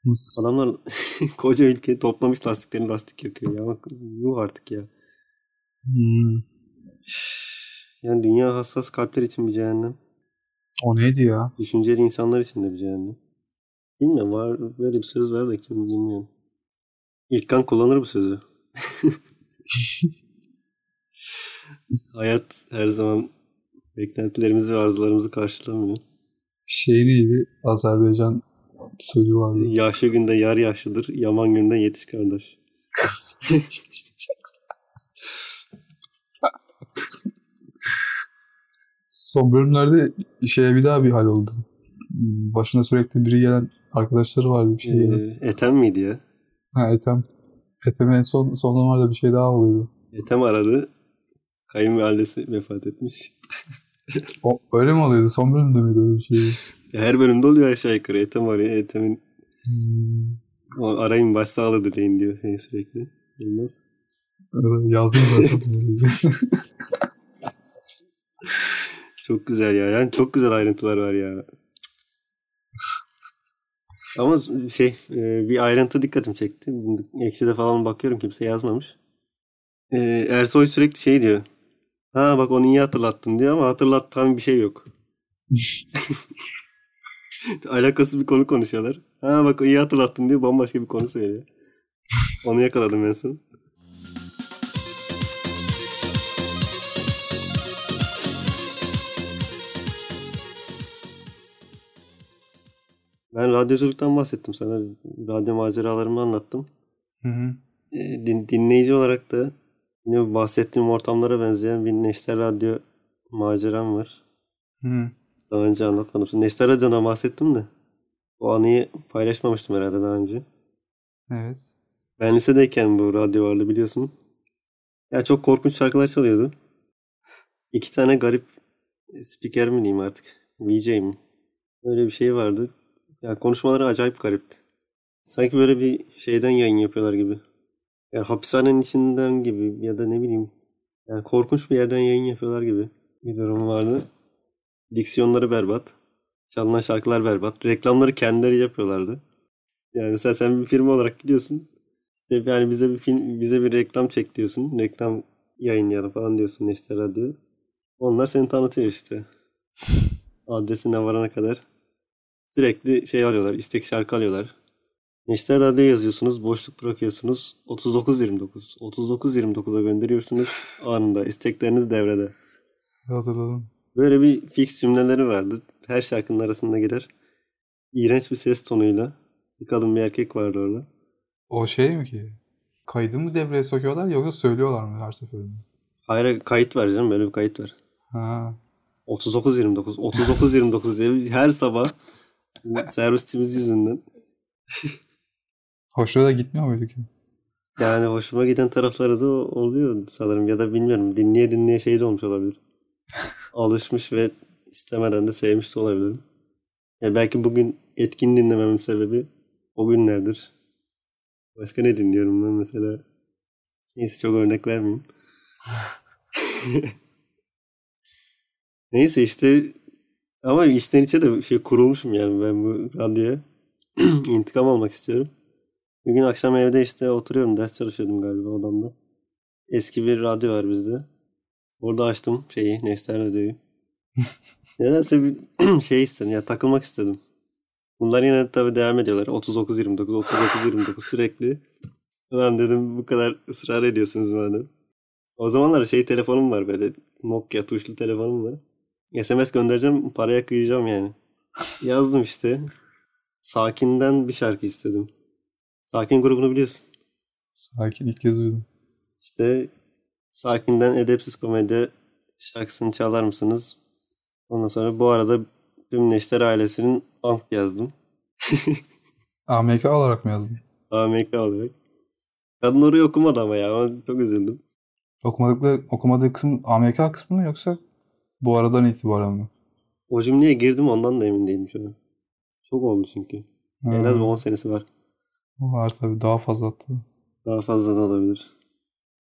Nasıl? Adamlar koca ülkeyi toplamış lastiklerini lastik yakıyor ya. Bak, yuh artık ya. Hmm. Yani dünya hassas kalpler için bir cehennem. O neydi ya? Düşünceli insanlar için de bir cehennem. Bilmiyorum var böyle bir söz var da kim bilmiyorum. İlkan kullanır bu sözü. Hayat her zaman beklentilerimizi ve arzularımızı karşılamıyor. Şey neydi? Azerbaycan sözü vardı. Yaşlı günde yar yaşlıdır, yaman günde yetiş kardeş. Son bölümlerde şeye bir daha bir hal oldu. Hmm, Başına sürekli biri gelen arkadaşları vardı. Bir şey gelen. Ee, Ethem miydi ya? Ha Ethem. Ethem'e en son, son zamanlarda bir şey daha oluyordu. Ethem aradı. Kayınvalidesi vefat etmiş. O, öyle mi oluyordu? Son bölümde miydi öyle bir şey? E, Her bölümde oluyor aşağı yukarı. Ethem arıyor. Ethem'in Hmm. "O arayın başsağlığı dileyin diyor şey sürekli. Olmaz. Evet, Yazdım zaten. Çok güzel ya. Yani çok güzel ayrıntılar var ya. Ama şey e, bir ayrıntı dikkatimi çekti. Ekşi'de falan bakıyorum kimse yazmamış. E, Ersoy sürekli şey diyor. Ha bak onu iyi hatırlattın diyor ama hatırlatan bir şey yok. Alakasız bir konu konuşuyorlar. Ha bak iyi hatırlattın diyor bambaşka bir konu söylüyor. Onu yakaladım en son. Ben radyoculuktan bahsettim sana. Radyo maceralarımı anlattım. Hı hı. E, din- dinleyici olarak da yine bahsettiğim ortamlara benzeyen bir Neşter Radyo maceram var. Hı. Daha önce anlatmadım. Neşter Radyo'na bahsettim de o anıyı paylaşmamıştım herhalde daha önce. Evet. Ben lisedeyken bu radyo vardı biliyorsun. Ya çok korkunç şarkılar çalıyordu. İki tane garip spiker mi diyeyim artık? VJ mi? Öyle bir şey vardı. Ya konuşmaları acayip garipti. Sanki böyle bir şeyden yayın yapıyorlar gibi. Ya hapishanenin içinden gibi ya da ne bileyim. Yani korkunç bir yerden yayın yapıyorlar gibi bir durum vardı. Diksiyonları berbat. Çalınan şarkılar berbat. Reklamları kendileri yapıyorlardı. Yani mesela sen bir firma olarak gidiyorsun. İşte yani bize bir film, bize bir reklam çek diyorsun. Reklam yayınlayalım falan diyorsun işte radyo. Onlar seni tanıtıyor işte. Adresine varana kadar. Sürekli şey alıyorlar, istek şarkı alıyorlar. İşte radyo yazıyorsunuz, boşluk bırakıyorsunuz. 39-29. 39-29'a gönderiyorsunuz. Anında istekleriniz devrede. Hatırladım. Böyle bir fix cümleleri vardı. Her şarkının arasında girer. İğrenç bir ses tonuyla. Bir kadın bir erkek vardı orada. O şey mi ki? Kaydı mı devreye sokuyorlar yoksa söylüyorlar mı her seferinde? Hayır kayıt var canım böyle bir kayıt var. Ha. 39-29, 39-29 diye her sabah bu servisçimiz yüzünden. Hoşuna da gitmiyor muydu ki? Yani hoşuma giden tarafları da oluyor sanırım ya da bilmiyorum dinleye dinleye şey de olmuş olabilir. Alışmış ve istemeden de sevmiş de olabilirim. Ya belki bugün etkin dinlememin sebebi o günlerdir. Başka ne dinliyorum ben mesela? Neyse çok örnek vermeyeyim. Neyse işte ama içten içe de şey kurulmuşum yani ben bu radyoya intikam almak istiyorum. Bir gün akşam evde işte oturuyorum ders çalışıyordum galiba odamda. Eski bir radyo var bizde. Orada açtım şeyi Neşter Radyo'yu. Nedense bir şey istedim ya takılmak istedim. Bunlar yine tabii devam ediyorlar. 39-29, 39-29 sürekli. Ulan dedim bu kadar ısrar ediyorsunuz madem. O zamanlar şey telefonum var böyle Nokia tuşlu telefonum var. SMS göndereceğim paraya kıyacağım yani. Yazdım işte. Sakin'den bir şarkı istedim. Sakin grubunu biliyorsun. Sakin ilk kez duydum. İşte Sakin'den Edepsiz Komedi şarkısını çalar mısınız? Ondan sonra bu arada tüm Neşter ailesinin amp yazdım. AMK olarak mı yazdın? AMK olarak. Kadın orayı okumadı ama ya. Ama çok üzüldüm. Okumadıkları, okumadığı kısım AMK kısmı mı yoksa bu aradan itibaren mi? O cümleye girdim ondan da emin değilim şu an. Çok oldu çünkü. En az bir 10 senesi var. Var tabii daha fazla hatta. Daha fazla da olabilir.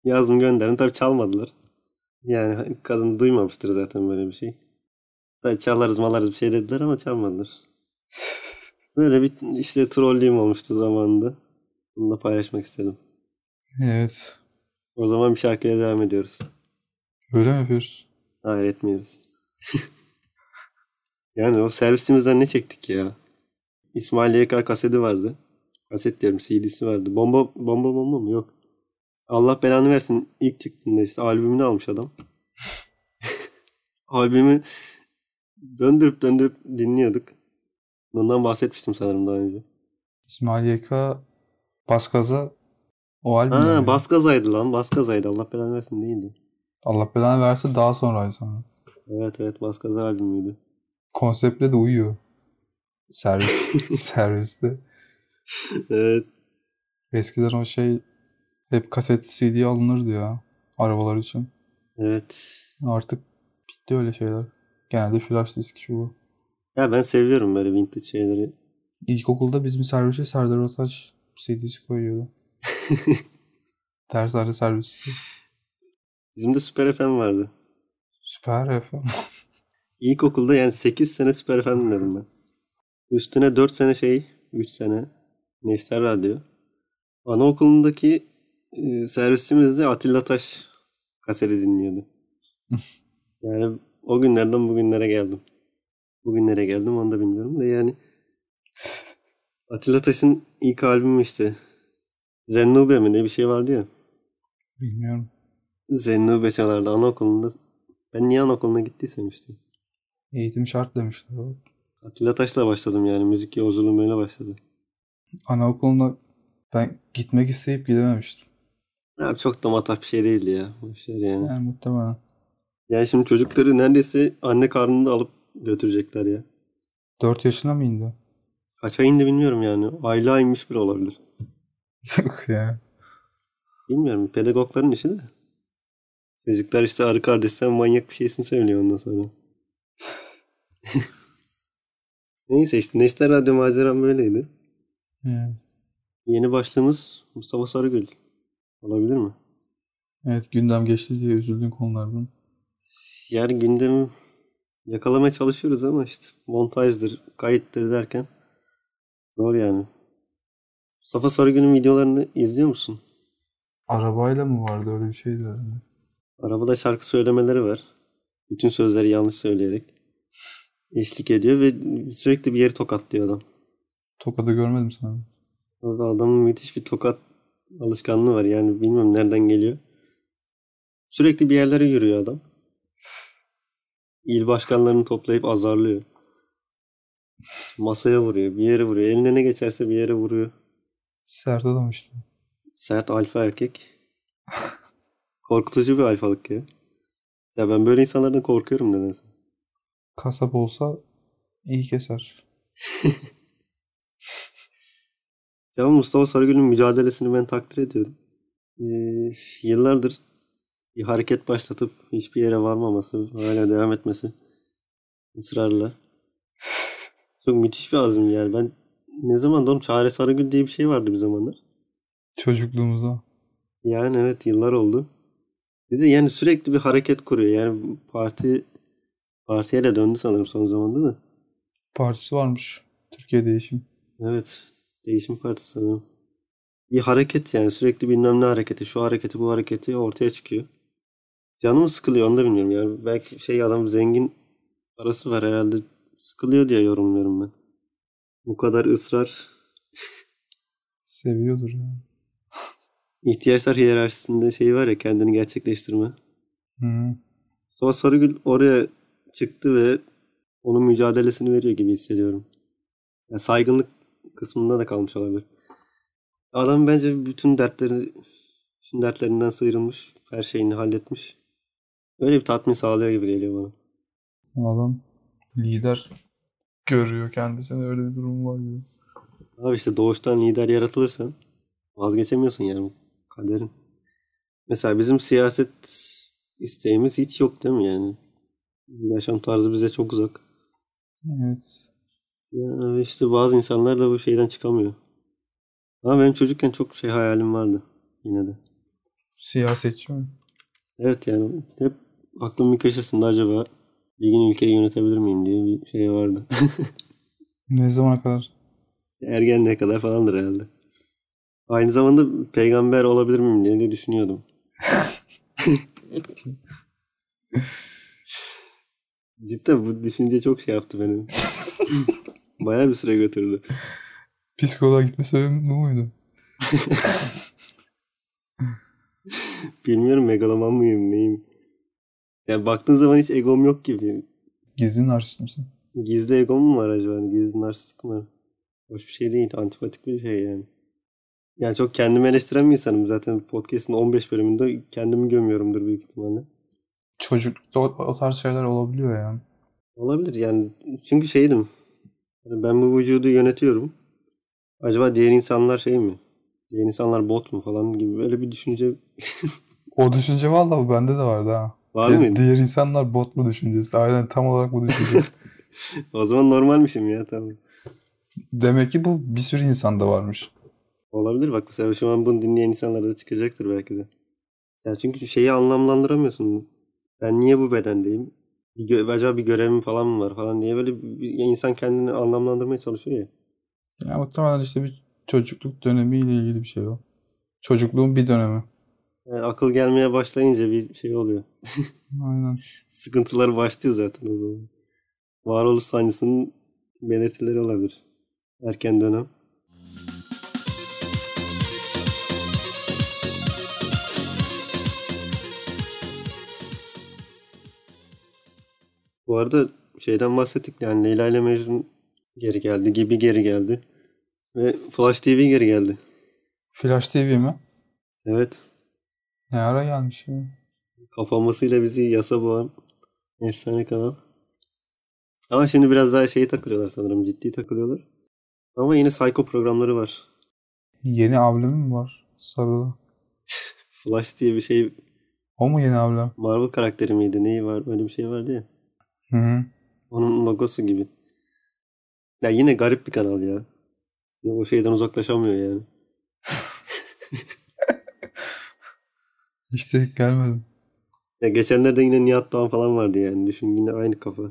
Yazdım gönderdim. Tabii çalmadılar. Yani kadın duymamıştır zaten böyle bir şey. Tabii çalarız malarız bir şey dediler ama çalmadılar. Böyle bir işte trolleyim olmuştu zamanında. Bunu da paylaşmak istedim. Evet. O zaman bir şarkıya devam ediyoruz. Öyle mi yapıyoruz? Hayır etmiyoruz. yani o servisimizden ne çektik ya? İsmail YK kaseti vardı. Kaset diyorum CD'si vardı. Bomba bomba bomba mı? Yok. Allah belanı versin. İlk çıktığında işte albümünü almış adam. Albümü döndürüp döndürüp dinliyorduk. Bundan bahsetmiştim sanırım daha önce. İsmail YK Baskaz'a o albüm. Ha yani. Baskazaydı lan. Baskazaydı. Allah belanı versin değildi. Allah belanı verse daha sonra sonra. Evet evet Baskaza albümüydü. Konseptle de uyuyor. Servis, serviste. evet. Eskiden o şey hep kaset CD alınırdı ya arabalar için. Evet. Artık bitti öyle şeyler. Genelde flash disk şu bu. Ya ben seviyorum böyle vintage şeyleri. İlkokulda bizim servise Serdar Ortaç CD'si koyuyordu. Dershane servisi. Bizim de Süper FM vardı. Süper FM. İlkokulda yani 8 sene Süper FM dinledim ben. Üstüne 4 sene şey, 3 sene Neşter Radyo. Anaokulundaki e, servisimiz de Atilla Taş kaseti dinliyordu. yani o günlerden bugünlere geldim. Bugünlere geldim onu da bilmiyorum da yani Atilla Taş'ın ilk albümü işte Zennube mi ne bir şey vardı ya. Bilmiyorum. Zennube çalardı anaokulunda. Ben niye anaokuluna gittiysem işte. Eğitim şart demişler. o. Atilla Taş'la başladım yani. Müzik yolculuğum öyle başladı. Anaokuluna ben gitmek isteyip gidememiştim. Abi çok da matah bir şey değildi ya. Bu işler yani. Yani muhtemelen. Yani şimdi çocukları neredeyse anne karnında alıp götürecekler ya. 4 yaşına mı indi? Kaça indi bilmiyorum yani. Aylığa inmiş bile olabilir. Yok ya. Bilmiyorum. Pedagogların işi de. Çocuklar işte arı kardeş sen manyak bir şeysin söylüyor ondan sonra. Neyse işte Neşter Radyo maceram böyleydi. Evet. Yeni başlığımız Mustafa Sarıgül. Olabilir mi? Evet gündem geçti diye üzüldüğün konulardan. Yani gündemi yakalamaya çalışıyoruz ama işte montajdır, kayıttır derken doğru yani. Mustafa Sarıgül'ün videolarını izliyor musun? Arabayla mı vardı öyle bir şeydi herhalde. Arabada şarkı söylemeleri var. Bütün sözleri yanlış söyleyerek eşlik ediyor ve sürekli bir yeri tokatlıyor adam. Tokada görmedim sanırım. Valla Adamın müthiş bir tokat alışkanlığı var. Yani bilmiyorum nereden geliyor. Sürekli bir yerlere yürüyor adam. İl başkanlarını toplayıp azarlıyor. Masaya vuruyor, bir yere vuruyor. Eline ne geçerse bir yere vuruyor. Sert adam işte. Sert alfa erkek. Korkutucu bir alfalık ya. Ya ben böyle insanlardan korkuyorum nedense. Kasap olsa iyi keser. Ya Mustafa Sarıgül'ün mücadelesini ben takdir ediyorum. Ee, yıllardır bir hareket başlatıp hiçbir yere varmaması, hala devam etmesi ısrarla. Çok müthiş bir azim yani. Ben ne zaman oğlum Çare Sarıgül diye bir şey vardı bir zamanlar. Çocukluğumuzda. Yani evet yıllar oldu. Bir de yani sürekli bir hareket kuruyor. Yani parti partiye de döndü sanırım son zamanda da. Partisi varmış. Türkiye Değişim. Evet. Değişim Partisi sanırım. Bir hareket yani sürekli bilmem ne hareketi, şu hareketi, bu hareketi ortaya çıkıyor. Canım sıkılıyor onu da bilmiyorum yani. Belki şey adam zengin parası var herhalde. Sıkılıyor diye yorumluyorum ben. Bu kadar ısrar Seviyordur ya. ihtiyaçlar hiyerarşisinde şey var ya kendini gerçekleştirme. Hı. Sonra Sarıgül oraya çıktı ve onun mücadelesini veriyor gibi hissediyorum. Yani saygınlık kısmında da kalmış olabilir. Adam bence bütün dertleri bütün dertlerinden sıyrılmış, her şeyini halletmiş. Öyle bir tatmin sağlıyor gibi geliyor bana. Adam lider görüyor kendisini öyle bir durum var gibi. Abi işte doğuştan lider yaratılırsan vazgeçemiyorsun yani bu kaderin. Mesela bizim siyaset isteğimiz hiç yok değil mi yani? Yaşam tarzı bize çok uzak. Evet. Ya işte bazı insanlar da bu şeyden çıkamıyor. Ama benim çocukken çok şey hayalim vardı yine de. Siyasetçi mi? Evet yani hep aklımın bir köşesinde acaba bir gün ülkeyi yönetebilir miyim diye bir şey vardı. Ne zamana kadar? Ergenliğe kadar falandır herhalde. Aynı zamanda peygamber olabilir miyim diye de düşünüyordum. Cidden bu düşünce çok şey yaptı benim. Bayağı bir süre götürdü. Psikoloğa gitme sebebim bu muydu? Bilmiyorum megaloman mıyım neyim. Yani baktığın zaman hiç egom yok gibi. Gizli narsist misin? Gizli egom mu var acaba? Hani Gizli narsistik mi var? Hoş bir şey değil. Antipatik bir şey yani. Yani çok kendimi eleştiren bir insanım. Zaten podcast'in 15 bölümünde kendimi gömüyorumdur büyük ihtimalle. Çocuklukta o, o tarz şeyler olabiliyor yani. Olabilir yani. Çünkü şeydim. Yani ben bu vücudu yönetiyorum. Acaba diğer insanlar şey mi? Diğer insanlar bot mu falan gibi böyle bir düşünce O düşünce vallahi bende de vardı ha. var Di- mıydı? Diğer insanlar bot mu düşüncesi? Aynen tam olarak bu düşünce. O zaman normalmişim ya tamam. Demek ki bu bir sürü insanda varmış. Olabilir bak mesela şu an bunu dinleyen insanlar da çıkacaktır belki de. Yani çünkü şeyi anlamlandıramıyorsun. Ben niye bu bedendeyim? Bir gö- acaba bir görevim falan mı var falan diye böyle bir, ya insan kendini anlamlandırmaya çalışıyor ya. Ya muhtemelen işte bir çocukluk dönemiyle ilgili bir şey o. Çocukluğun bir dönemi. Yani akıl gelmeye başlayınca bir şey oluyor. Aynen. Sıkıntılar başlıyor zaten o zaman. Varoluş sancısının belirtileri olabilir. Erken dönem. Bu arada şeyden bahsettik yani Leyla ile Mecnun geri geldi, gibi geri geldi. Ve Flash TV geri geldi. Flash TV mi? Evet. Ne ara gelmiş ya? Kapanmasıyla bizi yasa boğan efsane kanal. Ama şimdi biraz daha şeyi takılıyorlar sanırım. Ciddi takılıyorlar. Ama yine psycho programları var. Yeni ablem mi var? Sarılı. Flash diye bir şey O mu yeni ablem? Marvel karakteri miydi? Neyi var? Öyle bir şey vardı ya. Hı hı. Onun logosu gibi. Ya yine garip bir kanal ya. Yine o şeyden uzaklaşamıyor yani. Hiç denk gelmedim. Ya geçenlerde yine Nihat Doğan falan vardı yani. Düşün yine aynı kafa.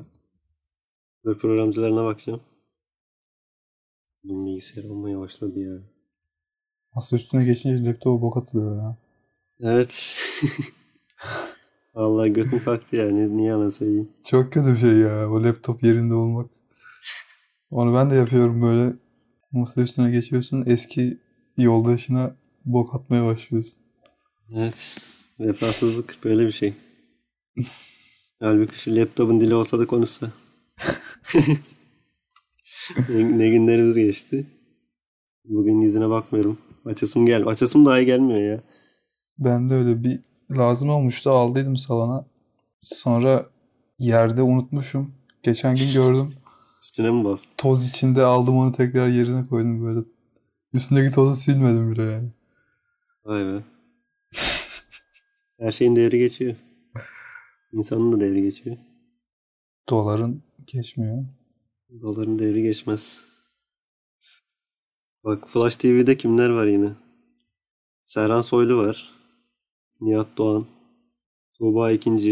Böyle programcılarına bakacağım. Bunun bilgisayar olmaya başladı ya. Masa üstüne geçince laptopa bok atılıyor ya. Evet. Allah götüm kalktı yani. Niye ana söyleyeyim. Çok kötü bir şey ya. O laptop yerinde olmak. Onu ben de yapıyorum böyle. Masa üstüne geçiyorsun. Eski yoldaşına bok atmaya başlıyorsun. Evet. Vefasızlık böyle bir şey. Halbuki şu laptopun dili olsa da konuşsa. ne, ne günlerimiz geçti. Bugün yüzüne bakmıyorum. Açasım gel. Açasım dahi gelmiyor ya. Ben de öyle bir lazım olmuştu. Aldıydım salona. Sonra yerde unutmuşum. Geçen gün gördüm. Üstüne mi bastın? Toz içinde aldım onu tekrar yerine koydum böyle. Üstündeki tozu silmedim bile yani. Vay be. Her şeyin devri geçiyor. İnsanın da devri geçiyor. Doların geçmiyor. Doların devri geçmez. Bak Flash TV'de kimler var yine? Serhan Soylu var. Nihat Doğan. Tuğba ikinci.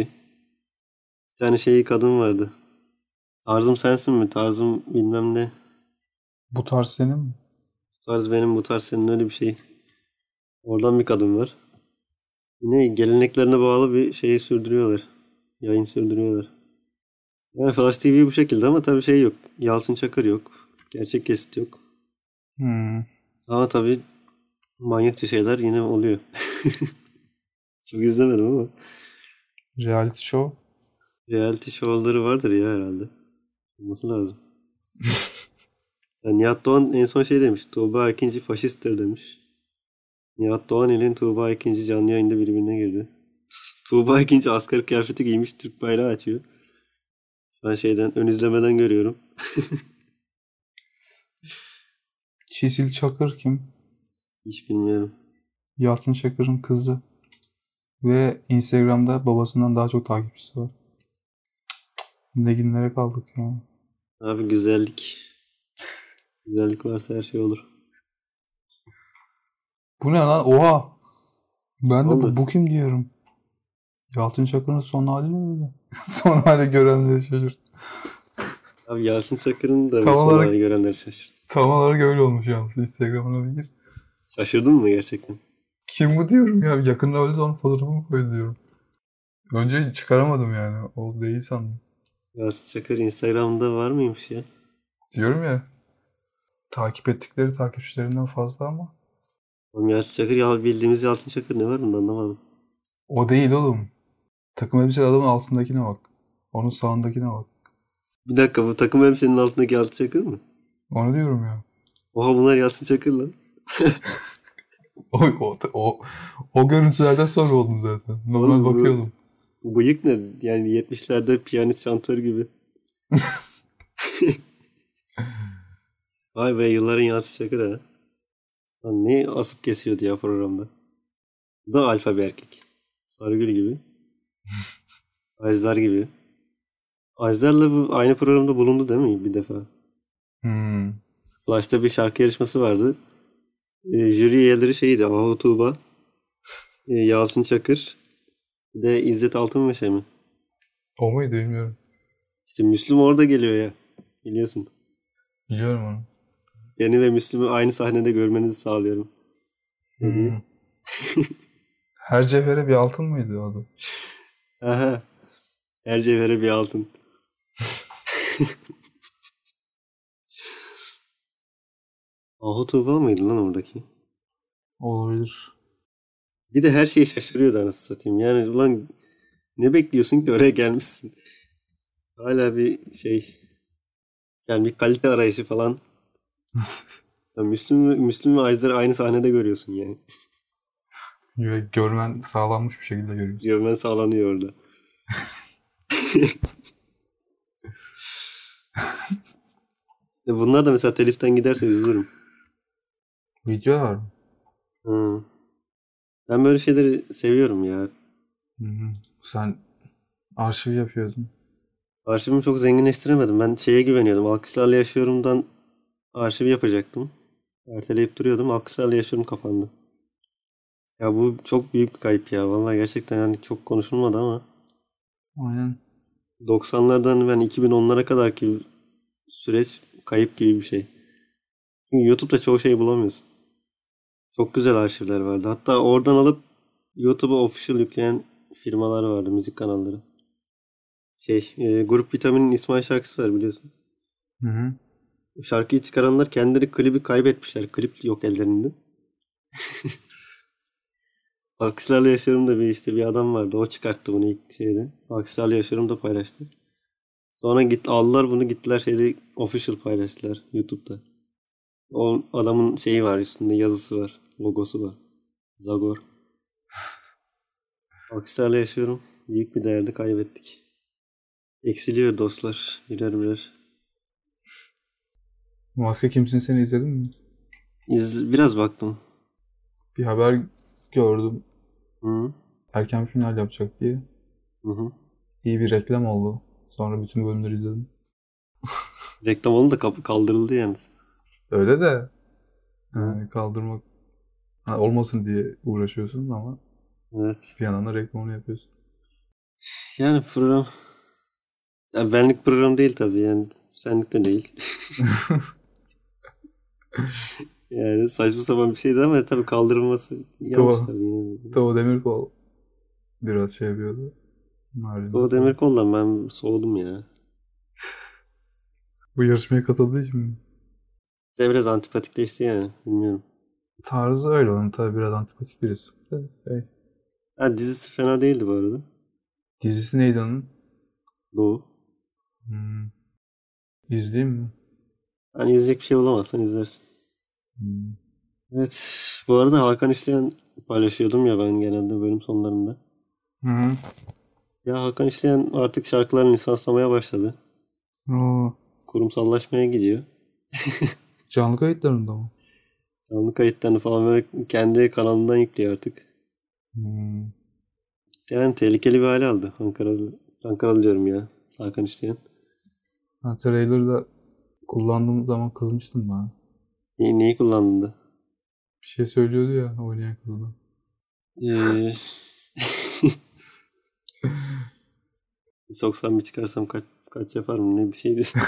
Bir tane şey kadın vardı. Tarzım sensin mi? Tarzım bilmem ne. Bu tarz senin mi? Bu tarz benim bu tarz senin öyle bir şey. Oradan bir kadın var. Yine geleneklerine bağlı bir şeyi sürdürüyorlar. Yayın sürdürüyorlar. Yani Flash TV bu şekilde ama tabii şey yok. Yalçın Çakır yok. Gerçek kesit yok. Hmm. Ama tabii manyakça şeyler yine oluyor. Çok izlemedim ama Reality show. reality show'ları vardır ya herhalde. Olması lazım. Sen Nihat Doğan en son şey demiş. Tuğba Ekinci faşisttir demiş. Nihat Doğan ile Tuğba Ekinci canlı yayında birbirine girdi. Tuğba Ekinci asgari kıyafeti giymiş Türk bayrağı açıyor. Ben şeyden ön izlemeden görüyorum. Çisil Çakır kim? Hiç bilmiyorum. Yalçın Çakır'ın kızı. Ve Instagram'da babasından daha çok takipçisi var. Ne günlere kaldık ya. Abi güzellik. Güzellik varsa her şey olur. Bu ne lan? Oha! Ben de bu, Oldu. bu kim diyorum. Yalçın Çakır'ın son hali ne öyle? son hali görenleri şaşırt. Abi Yasin Çakır'ın da Tam bu olarak- sonları görenleri şaşırdı. Tam olarak öyle olmuş yalnız. Instagram'ına bir gir. Şaşırdın mı gerçekten? Kim bu diyorum ya. Yakında öldü onun fotoğrafını mı koydu diyorum. Önce çıkaramadım yani. O değil sandım. Yasin Çakır Instagram'da var mıymış ya? Diyorum ya. Takip ettikleri takipçilerinden fazla ama. Oğlum Yasin Çakır ya bildiğimiz Yasin Çakır ne var bunda anlamadım. O değil oğlum. Takım elbiseli adamın altındakine bak. Onun sağındakine bak. Bir dakika bu takım elbisenin altındaki Yasin Çakır mı? Onu diyorum ya. Oha bunlar Yasin Çakır lan. O, o, o, o görüntülerden sonra oldum zaten. Normal Oğlum bu- bakıyordum. Bu bıyık ne? Yani 70'lerde piyanist şantör gibi. Vay be yılların Yasin Çakır ha. Lan ne asıp kesiyordu ya programda. Bu da alfa bir erkek. Sarıgül gibi. Ajdar gibi. Ajdar'la bu aynı programda bulundu değil mi bir defa? Hmm. Flash'ta bir şarkı yarışması vardı. E, jüri üyeleri şeydi. Ahu Tuğba, e, Yalçın Çakır, bir de İzzet Altınmeşe mi? O muydu bilmiyorum. İşte Müslüm orada geliyor ya. Biliyorsun. Biliyorum onu. Beni ve Müslüm'ü aynı sahnede görmenizi sağlıyorum. Dedi. Hmm. Her cevhere bir altın mıydı o da? Aha. Her cevhere bir altın. Ahu Tuğba mıydı lan oradaki? Olabilir. Bir de her şeyi şaşırıyordu anasını satayım. Yani ulan ne bekliyorsun ki oraya gelmişsin. Hala bir şey yani bir kalite arayışı falan. ya Müslüm, ve- Müslüm ve Ajdar'ı aynı sahnede görüyorsun yani. Ve görmen sağlanmış bir şekilde görüyorsun. Yövmen sağlanıyor orada. E Bunlar da mesela teliften giderse üzülürüm. Videolar mı? Hı. Ben böyle şeyleri seviyorum ya. Hı hı. Sen arşiv yapıyordun. Arşivimi çok zenginleştiremedim. Ben şeye güveniyordum. Alkışlarla yaşıyorumdan arşiv yapacaktım. Erteleyip duruyordum. Alkışlarla yaşıyorum kapandı. Ya bu çok büyük bir kayıp ya. Vallahi gerçekten yani çok konuşulmadı ama Aynen. 90'lardan ben 2010'lara kadar ki süreç kayıp gibi bir şey. Çünkü YouTube'da çoğu şey bulamıyorsun. Çok güzel arşivler vardı. Hatta oradan alıp YouTube'a official yükleyen firmalar vardı, müzik kanalları. Şey, e, Grup Vitamin'in İsmail şarkısı var biliyorsun. Hı hı. Şarkıyı çıkaranlar kendileri klibi kaybetmişler. Klip yok ellerinde. Alkışlarla Yaşarım'da bir işte bir adam vardı. O çıkarttı bunu ilk şeyde. Alkışlarla Yaşarım'da paylaştı. Sonra git aldılar bunu gittiler şeyde official paylaştılar YouTube'da. O adamın şeyi var üstünde yazısı var. Logosu var. Zagor. Alkışlarla Yaşıyorum. Büyük bir değerde kaybettik. Eksiliyor dostlar birer birer. Maske Kimsin seni izledin mi? İz, biraz baktım. Bir haber gördüm. Hı Erken final yapacak diye. hı. hı. İyi bir reklam oldu. Sonra bütün bölümleri izledim. Reklam oldu da kap- kaldırıldı yalnız. Öyle de yani kaldırmak ha, olmasın diye uğraşıyorsun ama Evet. bir yandan da reklamını yapıyorsun. Yani program Ya benlik program değil tabii yani senlik de değil. yani saçma sapan bir şeydi ama tabii kaldırılması yanlış Tamam. tabii. Yani. Tava Demirkol biraz şey yapıyordu. Narin. O Demirkol'dan ben soğudum ya. Bu yarışmaya katıldığı için mi? İşte biraz antipatikleşti yani bilmiyorum. Tarzı öyle onun tabii biraz antipatik birisi. Evet, Şey. Ha, dizisi fena değildi bu arada. Dizisi neydi onun? Doğu. Hmm. İzleyeyim mi? Hani izleyecek bir şey bulamazsan izlersin. Hmm. Evet. Bu arada Hakan İşleyen paylaşıyordum ya ben genelde bölüm sonlarında. Hı Ya Hakan İşleyen artık şarkılarını lisanslamaya başladı. hı. Oo. Kurumsallaşmaya gidiyor. Canlı kayıtlarında mı? Canlı kayıtlarını falan böyle kendi kanalından yüklüyor artık. Hmm. Yani tehlikeli bir hale aldı. Ankaralı, Ankaralı diyorum ya. Hakan İşleyen. Ha, trailer'da Kullandığım zaman kızmıştım bana. Neyi, neyi kullandın da? Bir şey söylüyordu ya oynayan kadına. Ee, soksam bir çıkarsam kaç kaç yaparım ne bir şey şeydi.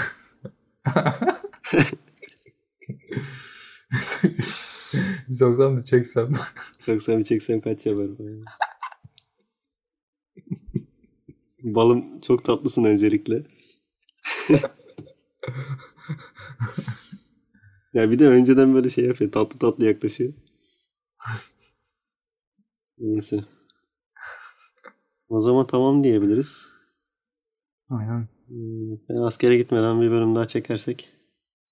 Soksan bir çeksem. Soksam bir çeksem kaç yaparım. Balım çok tatlısın öncelikle. ya bir de önceden böyle şey yapıyor. Tatlı tatlı yaklaşıyor. Neyse. O zaman tamam diyebiliriz. Aynen. Hmm, Ben askere gitmeden bir bölüm daha çekersek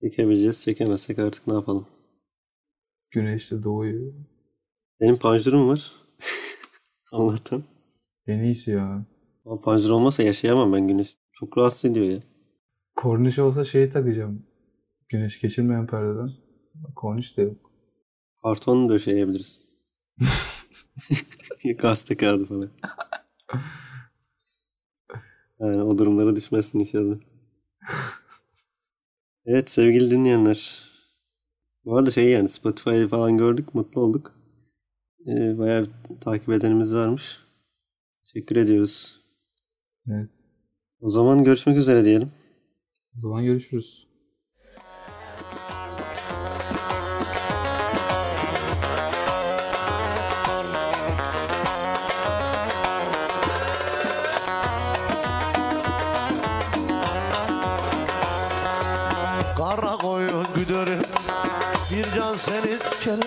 çekebileceğiz. Çekemezsek artık ne yapalım. Güneşte doğuyor. Benim panjurum var. Allah'tan. En iyisi ya. Ama panjur olmasa yaşayamam ben güneş. Çok rahatsız ediyor ya. Korniş olsa şeyi takacağım. Güneş geçirmeyen perdeden. Korniş de yok. Karton şey döşeyebiliriz. Gazete kağıdı falan. Yani o durumlara düşmezsin inşallah. Evet sevgili dinleyenler. Bu arada şey yani Spotify'ı falan gördük. Mutlu olduk. Ee, bayağı takip edenimiz varmış. Teşekkür ediyoruz. Evet. O zaman görüşmek üzere diyelim. O zaman görüşürüz. Kara koyun güdörüm Bir can seniz kerim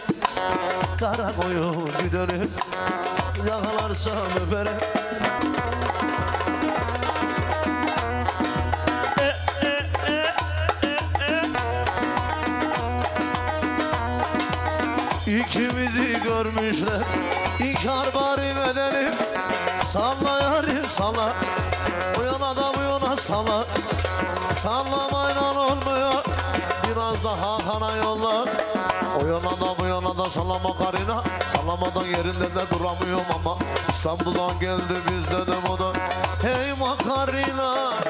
Kara koyun güdörüm Yakalarsam öperim İkimizi görmüşler İnkar bari edelim Salla yarim salla Bu yana da bu yana salla Sallamayla olmuyor Biraz daha kana yolla O yana da bu yana da sallama karina Sallamadan yerinde de duramıyorum ama İstanbul'dan geldi biz dedim o da Hey makarina